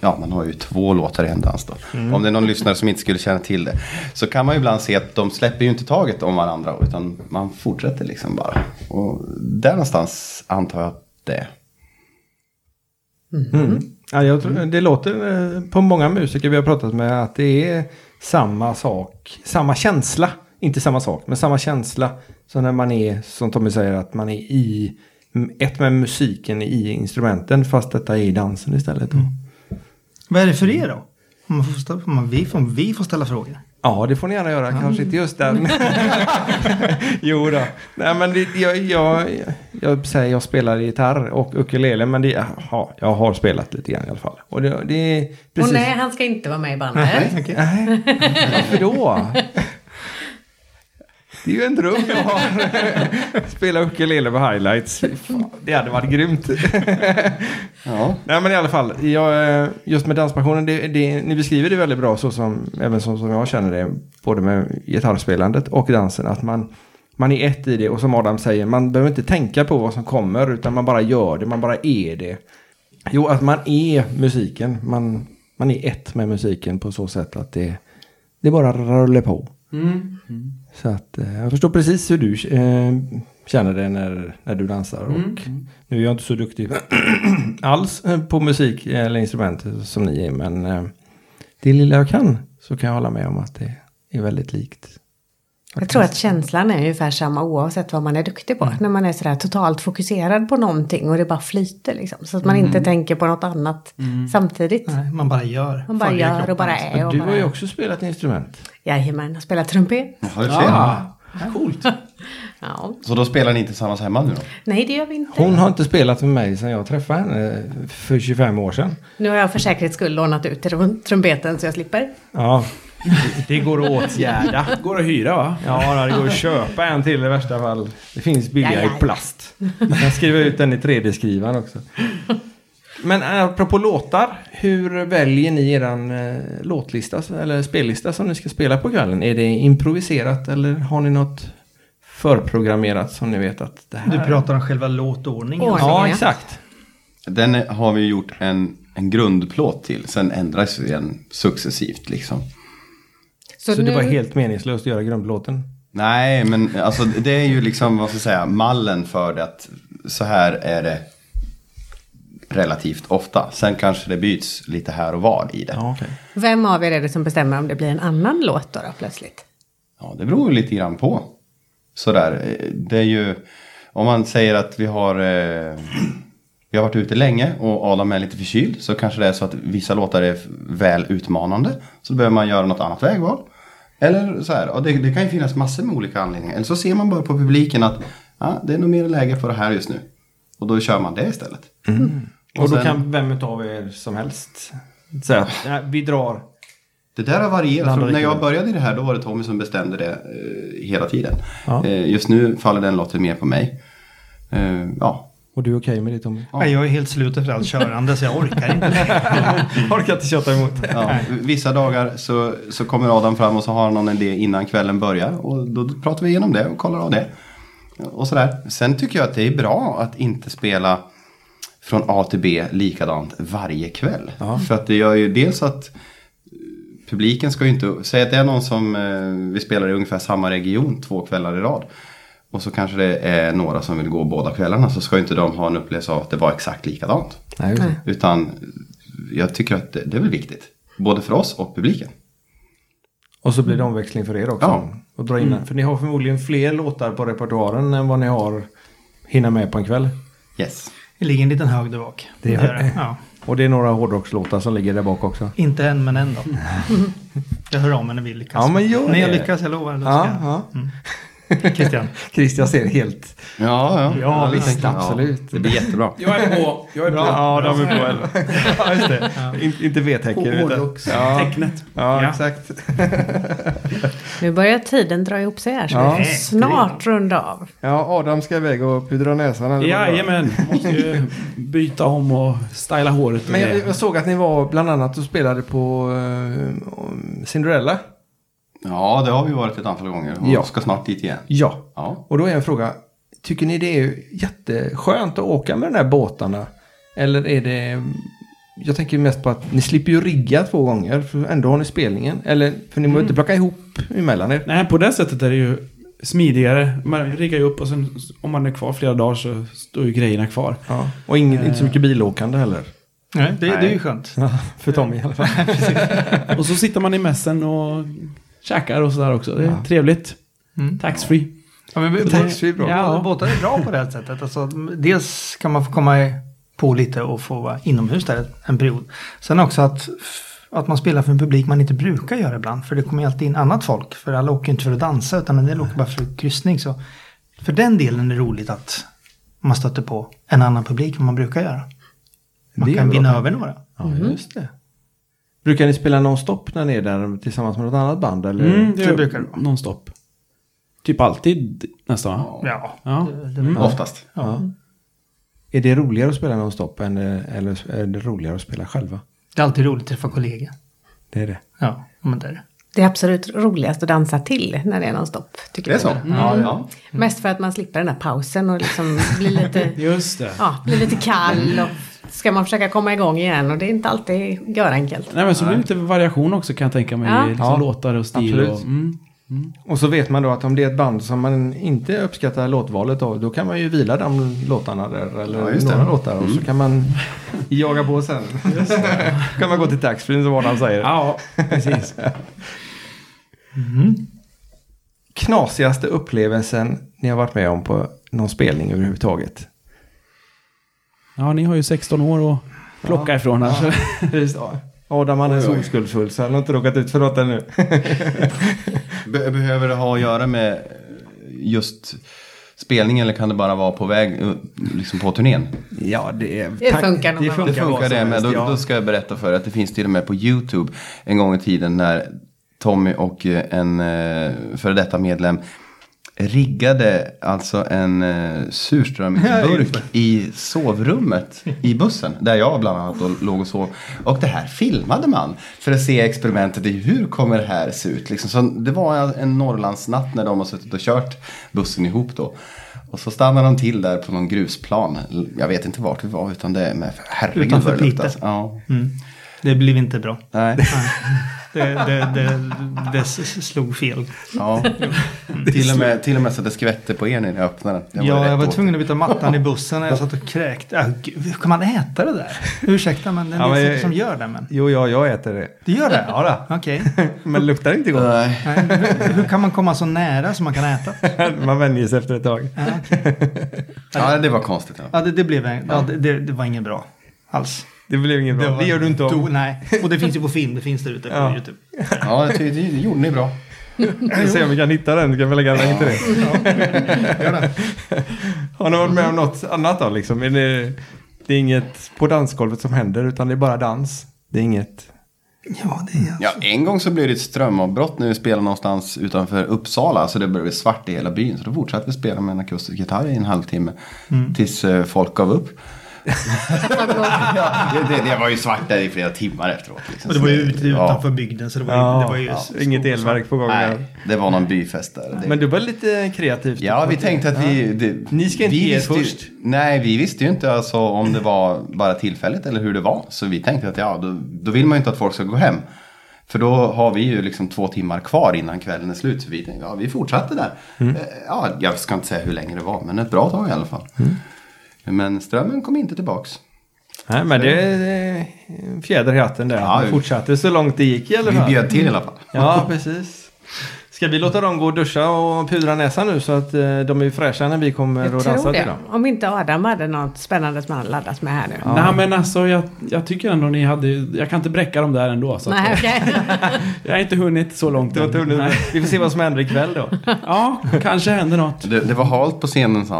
Speaker 5: ja, man har ju två låtar i en dans då. Om det är någon lyssnare som inte skulle känna till det. Så kan man ju ibland se att de släpper ju inte taget om varandra. Utan man fortsätter liksom bara. Och där någonstans antar jag att det är.
Speaker 2: Mm. Ja, jag tror, det låter eh, på många musiker vi har pratat med att det är samma sak, samma känsla. Inte samma sak, men samma känsla. Så när man är, som Tommy säger, att man är i m- ett med musiken i instrumenten fast detta är i dansen istället. då.
Speaker 4: Vad är det för er då? Om, man får ställa, om, man, vi, får, om vi får ställa frågor.
Speaker 2: Ja, det får ni gärna göra. Kanske inte just den. jo då. Nej, men det, jag, jag, jag säger jag spelar gitarr och ukulele, men det, ja, jag har spelat lite grann i alla fall. Och det, det är precis...
Speaker 7: Och nej, han ska inte vara med i bandet.
Speaker 2: Nej, varför då? Det är ju en dröm jag har. Spela ukulele på highlights. Fy fan, Det hade varit grymt.
Speaker 5: Ja.
Speaker 2: Nej men i alla fall, jag, eh, just med danspassionen, det, det, ni beskriver det väldigt bra så som, även som, som jag känner det, både med gitarrspelandet och dansen, att man, man är ett i det och som Adam säger, man behöver inte tänka på vad som kommer utan man bara gör det, man bara är det. Jo, att man är musiken, man, man är ett med musiken på så sätt att det, det bara rullar på. Så att eh, jag förstår precis hur du eh, känner det när, när du dansar. Och nu är jag inte så duktig alls eh, på musik eller instrument som ni är. Men eh, det lilla jag kan så kan jag hålla med om att det är väldigt likt.
Speaker 7: Jag tror att känslan är ungefär samma oavsett vad man är duktig på. När man är sådär totalt fokuserad på någonting och det bara flyter liksom. Så att man inte tänker på något annat samtidigt.
Speaker 4: Nej, man bara gör.
Speaker 7: Man bara
Speaker 4: Följer
Speaker 7: gör
Speaker 4: kroppen.
Speaker 7: och bara är och
Speaker 2: alltså. Du har ju
Speaker 7: bara...
Speaker 2: också spelat instrument.
Speaker 7: Jajamän, jag spelar trumpet.
Speaker 5: Ja, du ser.
Speaker 3: Coolt.
Speaker 7: Ja.
Speaker 5: Så då spelar ni inte tillsammans hemma nu då?
Speaker 7: Nej, det gör vi inte.
Speaker 2: Hon har inte spelat med mig sedan jag träffade henne för 25 år sedan.
Speaker 7: Nu har jag för säkerhets skull lånat ut trum- trumpeten så jag slipper.
Speaker 2: Ja, det går att åtgärda.
Speaker 3: Går att hyra va?
Speaker 2: Ja, det går att köpa en till i värsta fall. Det finns billigare
Speaker 7: Ja, ja, ja.
Speaker 2: i plast. Jag skriver ut den i 3D-skrivaren också. Men apropå låtar, hur väljer ni eran eh, låtlista eller spellista som ni ska spela på kvällen? Är det improviserat eller har ni något förprogrammerat som ni vet att det här...
Speaker 4: Du pratar om själva låtordningen.
Speaker 7: Ordningen,
Speaker 2: Ja, exakt.
Speaker 5: Den är- har vi gjort en, en grundplåt till. Sen ändras den successivt liksom.
Speaker 2: Så,
Speaker 7: nu,
Speaker 2: det var helt meningslöst att göra grundlåten?
Speaker 5: Nej, men alltså det är ju liksom, vad ska jag säga, mallen för det att så här är det relativt ofta. Sen kanske det byts lite här och var i det. Ja,
Speaker 2: okej.
Speaker 7: Vem av er är det som bestämmer om det blir en annan låt då, då plötsligt?
Speaker 5: det beror ju lite grann på. Sådär, eh, det är ju, om man säger att vi har, eh, vi har varit ute länge och Adam är lite förkyld så kanske det är så att vissa låtar är f- väl utmanande. Så då behöver man göra något annat vägval. Eller så här, ja, det, det kan ju finnas massor med olika anledningar. Eller så ser man bara på publiken att ja, det är nog mer läge för det här just nu. Och då kör man det istället.
Speaker 2: Och, då
Speaker 5: sen-
Speaker 2: kan vem av er som helst säga att "Nej, vi drar
Speaker 5: Det där har varierat.
Speaker 2: Blandade
Speaker 5: Från när jag
Speaker 2: kulor.
Speaker 5: började i det här då var det Tommy som bestämde det eh, hela tiden. Eh, just nu faller den låten mer på mig. Eh, ja.
Speaker 2: Och du är okej med det Tommy?
Speaker 4: Nej, jag är helt slut efter allt körande så jag orkar inte.
Speaker 2: Orkar inte tjata emot.
Speaker 5: ja. Vissa dagar så, så kommer Adam fram och så har han någon idé innan kvällen börjar. Och då pratar vi igenom det och kollar av det. Och sådär. Sen tycker jag att det är bra att inte spela från A till B likadant varje kväll. För att det gör ju dels att publiken ska ju inte, säg att det är någon som eh, vi spelar i ungefär samma region två kvällar i rad. Och så kanske det är några som vill gå båda kvällarna så ska ju inte de ha en upplevelse av att det var exakt likadant.
Speaker 2: Nej, just det.
Speaker 5: Utan jag tycker att det, det är väl viktigt. Både för oss och publiken.
Speaker 2: Och så blir det omväxling för er också.
Speaker 5: Ja.
Speaker 2: Och dra in den. För ni har förmodligen fler låtar på repertoaren än vad ni har hinna med på en kväll.
Speaker 5: Yes.
Speaker 4: Det ligger en liten hög där bak.
Speaker 2: Det gör det.
Speaker 4: Ja.
Speaker 2: Och det är några hårdrockslåtar som ligger där bak också.
Speaker 4: Inte än, men ändå. Jag hör av mig när vi lyckas.
Speaker 2: Ja, men gör
Speaker 4: När jag
Speaker 2: det.
Speaker 4: lyckas, jag lovar. Då ska
Speaker 2: Ja,
Speaker 4: jag.
Speaker 2: ja.
Speaker 4: Christian.
Speaker 2: Christian ser helt...
Speaker 5: Ja, ja.
Speaker 2: Ja, visst,
Speaker 5: Ja,
Speaker 2: absolut.
Speaker 5: det blir jättebra.
Speaker 3: Jag är på. Jag är på.
Speaker 2: Ja, de är på eller? ja, just det. In, inte V-tecken. utan- Ja,
Speaker 3: Tecknet.
Speaker 2: ja,
Speaker 3: Ja.
Speaker 2: exakt.
Speaker 7: Nu börjar tiden dra ihop sig här så
Speaker 2: Ja.
Speaker 7: vi får snart runda av.
Speaker 2: Ja, Adam ska iväg och pudra näsan. eller vad det var.
Speaker 3: Jajamän. Måste ju byta om och styla håret. och
Speaker 2: Men jag,
Speaker 3: grejer.
Speaker 2: jag såg att ni var bland annat och spelade på eh, Cinderella.
Speaker 5: Ja, det har vi varit ett antal gånger och
Speaker 2: Ja.
Speaker 5: ska snart dit igen.
Speaker 2: Ja.
Speaker 5: Ja.
Speaker 2: Och då är en fråga, tycker ni det är jätteskönt att åka med de här båtarna? Eller är det, jag tänker mest på att ni slipper ju rigga två gånger, för ändå har ni spelningen. Eller, för ni måste inte plocka ihop emellan er.
Speaker 3: Nej, på det sättet är det ju smidigare. Man riggar ju upp och sen om man är kvar flera dagar så står ju grejerna kvar.
Speaker 2: Ja. Och ingen, inte så mycket bilåkande heller.
Speaker 4: Nej, det, det är ju skönt.
Speaker 2: för Tommy i alla fall.
Speaker 3: Och så sitter man i mässen och käkar och sådär också. Det är trevligt.
Speaker 4: Mm.
Speaker 3: Taxfree.
Speaker 4: Ja, men,
Speaker 2: Så
Speaker 4: båt-
Speaker 2: det är bra.
Speaker 4: Ja, båtar är bra på det här sättet. Alltså, dels kan man få komma i- på lite och få vara inomhus där en period. Sen också att, att man spelar för en publik man inte brukar göra ibland. För det kommer ju alltid in annat folk. För alla åker ju inte för att dansa utan en del åker bara för kryssning. Så för den delen är det roligt att man stöter på en annan publik än man brukar göra. Man
Speaker 2: Det är
Speaker 4: kan
Speaker 2: bra.
Speaker 4: vinna över några.
Speaker 2: Ja, just det. Brukar ni spela nonstop när ni är där tillsammans med något annat band? Eller?
Speaker 4: det
Speaker 3: är
Speaker 4: brukar det vara.
Speaker 3: Mm, Nonstop. Typ alltid nästan va?
Speaker 4: Ja,
Speaker 3: Ja.
Speaker 5: Mm. Oftast.
Speaker 2: Ja. Är det roligare att spela nonstop än, eh, eller är det roligare att spela själva?
Speaker 4: det är alltid roligt att träffa kollegor.
Speaker 2: Det är det.
Speaker 4: Ja, men det är det.
Speaker 7: Det är absolut roligast att dansa till när det är någon stopp. Tycker
Speaker 5: Det är
Speaker 7: jag.
Speaker 5: så? Mm. Ja, ja.
Speaker 7: Mest för att man slipper den här pausen och liksom blir lite,
Speaker 3: Just det.
Speaker 7: ja, blir lite kall. Och ska man försöka komma igång igen och det är inte alltid görenkelt.
Speaker 3: Nej men så blir det lite variation också kan jag tänka mig.
Speaker 7: Ja.
Speaker 3: i Liksom
Speaker 2: Ja.
Speaker 3: Låtar och stil
Speaker 2: Absolut.
Speaker 3: och... Mm.
Speaker 2: Och så vet man då att om det är ett band som man inte uppskattar låtvalet av, då kan man ju vila de låtarna där, eller
Speaker 5: Ja, just det.
Speaker 2: några låtar, och så kan man jaga på sen. kan man gå till taxfree som Adam säger.
Speaker 3: Ja, precis.
Speaker 2: Mm. Knasigaste upplevelsen ni har varit med om på någon spelning överhuvudtaget?
Speaker 3: Ja, ni har ju 16 år att plocka ifrån här. så-
Speaker 2: Just, Adam han är så oskuldsfull så han har inte råkat ut för något ännu.
Speaker 5: Be- behöver det ha att göra med just spelningen eller kan det bara vara på väg eh, liksom på turnén?
Speaker 2: Ja, det, är,
Speaker 7: Det funkar nog.
Speaker 2: Det
Speaker 5: Det
Speaker 2: funkar,
Speaker 5: funkar det med. Då, då ska jag berätta för er att det finns till och med på YouTube en gång i tiden när Tommy och eh, en eh, före detta medlem riggade alltså en eh, surströmsburk i sovrummet i bussen. Där jag bland annat då låg och sov. Och det här filmade man för att se experimentet i hur kommer det här se ut. Liksom. Så det var en, en Norrlandsnatt när de har suttit och kört bussen ihop då. Och så stannar de till där på någon grusplan. Jag vet inte vart vi var utan det är med herregud
Speaker 4: Utanför
Speaker 5: vad det luktar.
Speaker 4: Piteå.
Speaker 5: Ja.
Speaker 4: Mm. Det blev inte bra.
Speaker 5: Nej.
Speaker 4: Det, det, det, det s- slog fel.
Speaker 5: Ja. till, och med, till och med så att det skvätte på er när ni öppnade den.
Speaker 4: ja,
Speaker 5: rätt
Speaker 4: jag var
Speaker 5: åt.
Speaker 4: tvungen att byta mattan i bussen när jag satt och kräkte. Ah, gud, hur kan man äta det där? Ursäkta, men det är
Speaker 2: Ja, men-
Speaker 4: säkert som gör det. Men.
Speaker 2: Jo, ja, jag äter det.
Speaker 4: Det gör det?
Speaker 2: Ja,
Speaker 4: Okej.
Speaker 2: Men luktar inte gott.
Speaker 5: Nej.
Speaker 4: Nej, Hur, hur kan man komma så nära som man kan äta?
Speaker 2: Man vänjer sig efter ett tag.
Speaker 5: Ja, det var konstigt. Ja.
Speaker 4: Ja, det, det, blev, en- ja, det- det, det var inget bra alls.
Speaker 2: Det blev inget bra. Det,
Speaker 4: var-
Speaker 2: gör du inte om.
Speaker 4: Do, nej, och det finns ju på film. Det finns där ute på
Speaker 2: Ja.
Speaker 4: YouTube.
Speaker 5: Ja, det, det, det gjorde ni bra.
Speaker 2: Vi ska se om vi kan hitta den. Ska vi lägga en länk till det? Har ni varit med om något annat då? Liksom? Är det, det är inget på dansgolvet som händer utan det är bara dans. Det är inget...
Speaker 4: Ja, det är...
Speaker 5: Ja, en gång så blev det ett strömavbrott när vi spelade någonstans utanför Uppsala. Så det började bli svart i hela byn. Så då fortsatte vi spela med en akustisk gitarr i en halvtimme.
Speaker 4: Mm.
Speaker 5: Tills eh, folk gav upp. ja, det, det, det var ju svart där i flera timmar efteråt. Liksom.
Speaker 4: Och det var ju ute
Speaker 5: Ja.
Speaker 4: utanför bygden så det var ju... det var ju
Speaker 2: ja, inget elverk på gång. där.
Speaker 5: Nej, det var någon byfest där. Det,
Speaker 2: Men du var lite kreativt.
Speaker 5: Ja, vi tänkte att vi... Det,
Speaker 2: Ni ska inte
Speaker 5: vi
Speaker 2: ge er
Speaker 5: visste ju-
Speaker 2: först.
Speaker 5: Nej, vi visste ju inte alltså om det var bara tillfälligt eller hur det var. Så vi tänkte att ja, då, då vill man ju inte att folk ska gå hem. För då har vi ju liksom två timmar kvar innan kvällen är slut. Så vi tänkte, ja, vi fortsatte där.
Speaker 2: Mm.
Speaker 5: Eh, Ja, jag ska inte säga hur länge det var, men ett bra tag i alla fall.
Speaker 2: Mm.
Speaker 5: Men strömmen kom inte tillbaks.
Speaker 2: Nej, men det är en fjäder i hatten där.
Speaker 5: Ja,
Speaker 2: Vi fortsatte så långt det gick i alla
Speaker 5: Vi
Speaker 2: fall.
Speaker 5: bjöd till i alla fall.
Speaker 2: Ja, precis. Ska vi låta dem gå och duscha och pudra näsan nu så att eh, de är fräscha när vi kommer och
Speaker 7: Jag tror
Speaker 2: dansar till
Speaker 7: det.
Speaker 2: dem?
Speaker 7: Om inte Adam hade något spännande som han laddat med här nu.
Speaker 3: Nej, men alltså jag, jag tycker ändå ni hade... Jag kan inte bräcka dem där ändå. Så att-
Speaker 7: Nej, okej.
Speaker 3: Jag har inte hunnit så långt
Speaker 2: Du har
Speaker 3: än.
Speaker 2: inte hunnit-
Speaker 3: Nej.
Speaker 2: Vi får se vad som händer ikväll då.
Speaker 3: Ja, kanske händer något.
Speaker 5: Det, det var halt på scenen, sa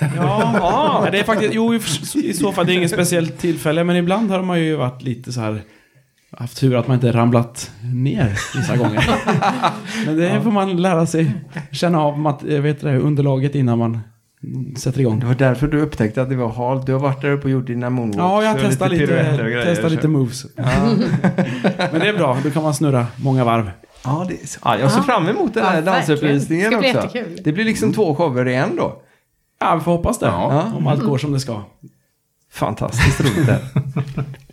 Speaker 5: han.
Speaker 3: Ja, ja. Det är faktiskt, jo, i f- i så fall det är inget speciellt tillfälle, men ibland har man ju varit lite så här haft tur att man inte ramlat ner vissa gånger. Men det får man lära sig känna av mat, eh, vet det, underlaget innan man sätter igång.
Speaker 2: Det var därför du upptäckte att det var halt. Du har varit där uppe och gjort dina moonwalks.
Speaker 3: Ja, jag
Speaker 2: och
Speaker 3: testar lite,
Speaker 2: piruetter och grejer,
Speaker 3: testar
Speaker 2: så-
Speaker 3: lite moves. Men det är bra, då kan man snurra många varv.
Speaker 2: Ja, det är så. Ja, jag ser
Speaker 7: Ja.
Speaker 2: fram emot den här
Speaker 7: Ah. Ja,
Speaker 2: dansuppvisningen
Speaker 7: verkligen. Det
Speaker 2: också.
Speaker 7: ska bli jättekul.
Speaker 2: Det blir liksom två shower i en då.
Speaker 3: Ja, vi får hoppas det.
Speaker 5: Ja.
Speaker 3: Om allt går som det ska.
Speaker 2: Fantastiskt roligt det.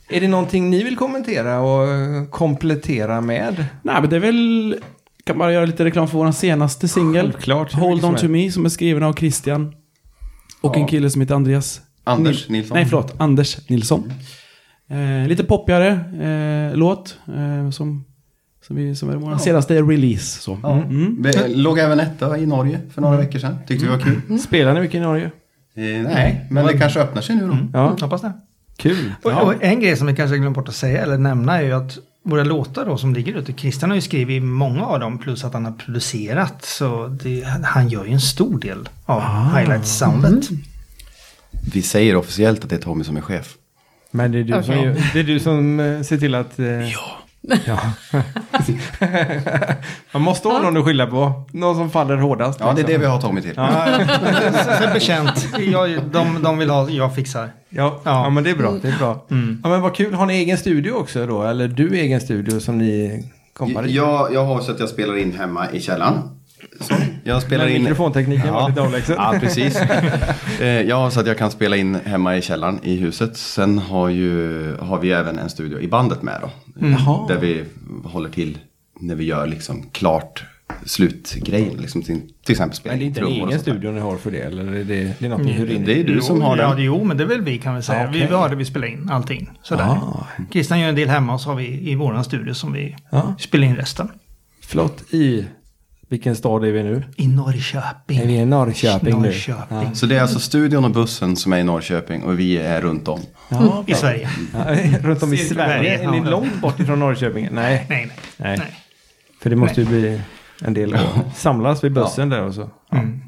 Speaker 2: Är det någonting ni vill kommentera och eh, komplettera med?
Speaker 3: Nej, men det är väl... Kan bara göra lite reklam för vår senaste singel.
Speaker 2: Självklart.
Speaker 3: Hold on to me, som är skriven av Christian. Och en kille som heter Andreas...
Speaker 5: Anders
Speaker 3: Nil-
Speaker 5: Nilsson.
Speaker 3: Nej, förlåt. Anders Nilsson.
Speaker 2: Mm.
Speaker 3: Eh, lite poppigare eh, låt. Eh, som, som, vi, som är vår senaste release. Så. Mm.
Speaker 5: Ja.
Speaker 2: Mm.
Speaker 5: Vi låg även etta i Norge för några veckor sedan. Tyckte vi var kul.
Speaker 2: Spelar ni mycket i Norge? Mm.
Speaker 5: Eh, nej, men det kanske öppnar sig nu då.
Speaker 2: Ja,
Speaker 4: Hoppas det.
Speaker 2: kul.
Speaker 4: Och, och en grej som vi kanske glömt bort att säga eller nämna är ju att våra låtar då som ligger ute, Christian har ju skrivit många av dem plus att han har producerat. Så det, han gör ju en stor del av
Speaker 2: Ah.
Speaker 4: highlights-soundet.
Speaker 2: Mm.
Speaker 5: Vi säger officiellt att det är Tommy som är chef.
Speaker 2: Men det är du som,
Speaker 7: Okej.
Speaker 2: gör- det är du som eh, ser till att... Eh, ja. Man måste ha någon att skylla på. Någon som faller hårdast.
Speaker 5: Ja, det är
Speaker 2: liksom.
Speaker 5: det vi har Tommy till.
Speaker 4: Sen bekänt. Jag, de, de vill ha, jag fixar.
Speaker 2: Ja, ja. Mm.
Speaker 4: Ja.
Speaker 2: men det är bra. Det är bra. Ja, men vad kul. Har ni egen studio också då? Eller du egen studio som ni kompar i?
Speaker 5: Jag, jag har så att jag spelar in hemma i källaren. Så, jag spelar
Speaker 2: Men
Speaker 5: in...
Speaker 2: mikrofontekniken var lite avlägsen.
Speaker 5: Ja, precis. Eh, jag har så att jag kan spela in hemma i källaren i huset. Sen har, ju, har vi även
Speaker 2: Mm.
Speaker 5: en studio i bandet med då. Där vi håller till när vi gör liksom klart slutgrejen. Liksom, till, till exempel spela
Speaker 2: Men det är inte en
Speaker 5: trummor och
Speaker 2: egen
Speaker 5: sånt där.
Speaker 2: studio ni har för det? Eller är det, det är något Mm. ni hyr in?
Speaker 5: Det är du som har
Speaker 4: ja,
Speaker 5: den.
Speaker 4: det, jo, men det är väl vi kan vi säga.
Speaker 2: Ja, Ah, okej. Ah.
Speaker 4: Vi har det vi spelar in allting. Sådär. Christian gör en del hemma och så har vi i våran studio som vi
Speaker 2: Ja.
Speaker 4: spelar in resten.
Speaker 2: Flott. I vilken stad är vi nu?
Speaker 4: I Norrköping.
Speaker 2: Är vi i Norrköping nu? Ah.
Speaker 4: Norrköping.
Speaker 5: Så det är alltså studion och bussen som är i Norrköping och vi är runt om.
Speaker 2: Ja,
Speaker 4: I Sverige.
Speaker 2: Ja, Runt om i
Speaker 4: Sverige,
Speaker 2: Sverige? Är
Speaker 4: ja.
Speaker 2: ni långt bort ifrån Norrköping? Nej.
Speaker 4: Nej, nej.
Speaker 2: Nej.
Speaker 4: nej.
Speaker 2: För det måste ju bli en del samlas vid bussen där och så.
Speaker 4: Mm.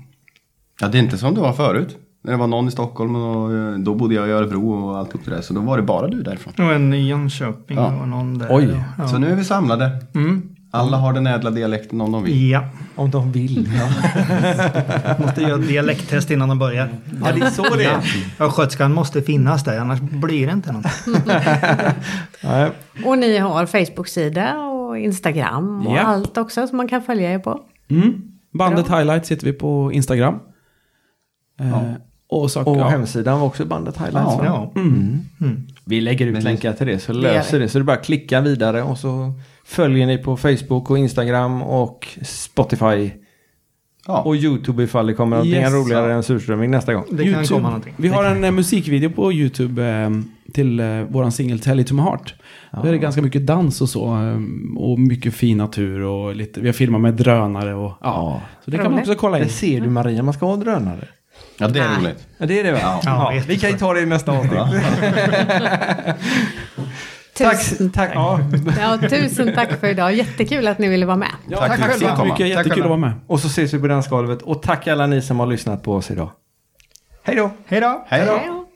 Speaker 5: Ja, det är inte som det var förut. När det var någon i Stockholm och eh, då bodde jag i Örebro och alltihop det där. Så då var det bara du därifrån.
Speaker 4: Och en i Jönköping
Speaker 5: Ja.
Speaker 4: och någon där.
Speaker 2: Oj.
Speaker 4: Ja.
Speaker 5: Så nu är vi samlade. Alla har den ädla dialekten om de vill.
Speaker 4: Ja,
Speaker 2: Om de vill.
Speaker 4: måste göra dialekttest innan de börjar.
Speaker 2: Ja, det är så det är.
Speaker 4: Östgötskan måste finnas där, annars blir det inte någonting.
Speaker 2: Nej.
Speaker 7: Och ni har Facebook-sida och Instagram och
Speaker 3: Ja.
Speaker 7: allt också som man kan följa er på.
Speaker 3: Mm. Bandet Highlights heter vi på Instagram. Eh, och saker,
Speaker 2: Och
Speaker 3: ja.
Speaker 2: hemsidan var också bandet Highlights.
Speaker 5: Ja.
Speaker 2: va?
Speaker 4: Ja.
Speaker 2: Vi lägger ut
Speaker 5: Men-
Speaker 2: länkar till det så
Speaker 7: gör
Speaker 2: löser det. Så det är bara att klicka vidare och så följer ni på Facebook och Instagram och Spotify
Speaker 5: Ja.
Speaker 2: och YouTube ifall det kommer någonting
Speaker 3: Yes.
Speaker 2: roligare än surströmming nästa gång.
Speaker 4: Det kan komma någonting.
Speaker 3: Vi har en eh, musikvideo på YouTube eh, till eh, våran singel Tell It To My Heart. Där är det ganska mycket dans och så. Eh, och mycket fin natur och lite, vi har filmat med drönare och ja. Så det kan man
Speaker 7: Roligt.
Speaker 3: också kolla
Speaker 2: Det
Speaker 3: in.
Speaker 2: ser du Maria, man ska ha drönare.
Speaker 5: Ja, det är roligt.
Speaker 2: Ja, det är det va? Ja.
Speaker 4: Ja,
Speaker 2: Vi kan ju ta det i nästa avsnitt. tack,
Speaker 7: Tusen,
Speaker 2: tack. Ja.
Speaker 7: ja, tusen tack för idag. Jättekul att ni ville vara med.
Speaker 3: Ja,
Speaker 5: Tack för att
Speaker 3: tack
Speaker 5: vi fick
Speaker 3: så
Speaker 5: komma.
Speaker 3: mycket,
Speaker 5: Tack
Speaker 3: jättekul att vara med.
Speaker 2: Och så ses vi på dansgolvet. Och tack alla ni som har lyssnat på oss idag. Hej då!
Speaker 4: Hej då!
Speaker 5: Hej då!
Speaker 7: Hej då.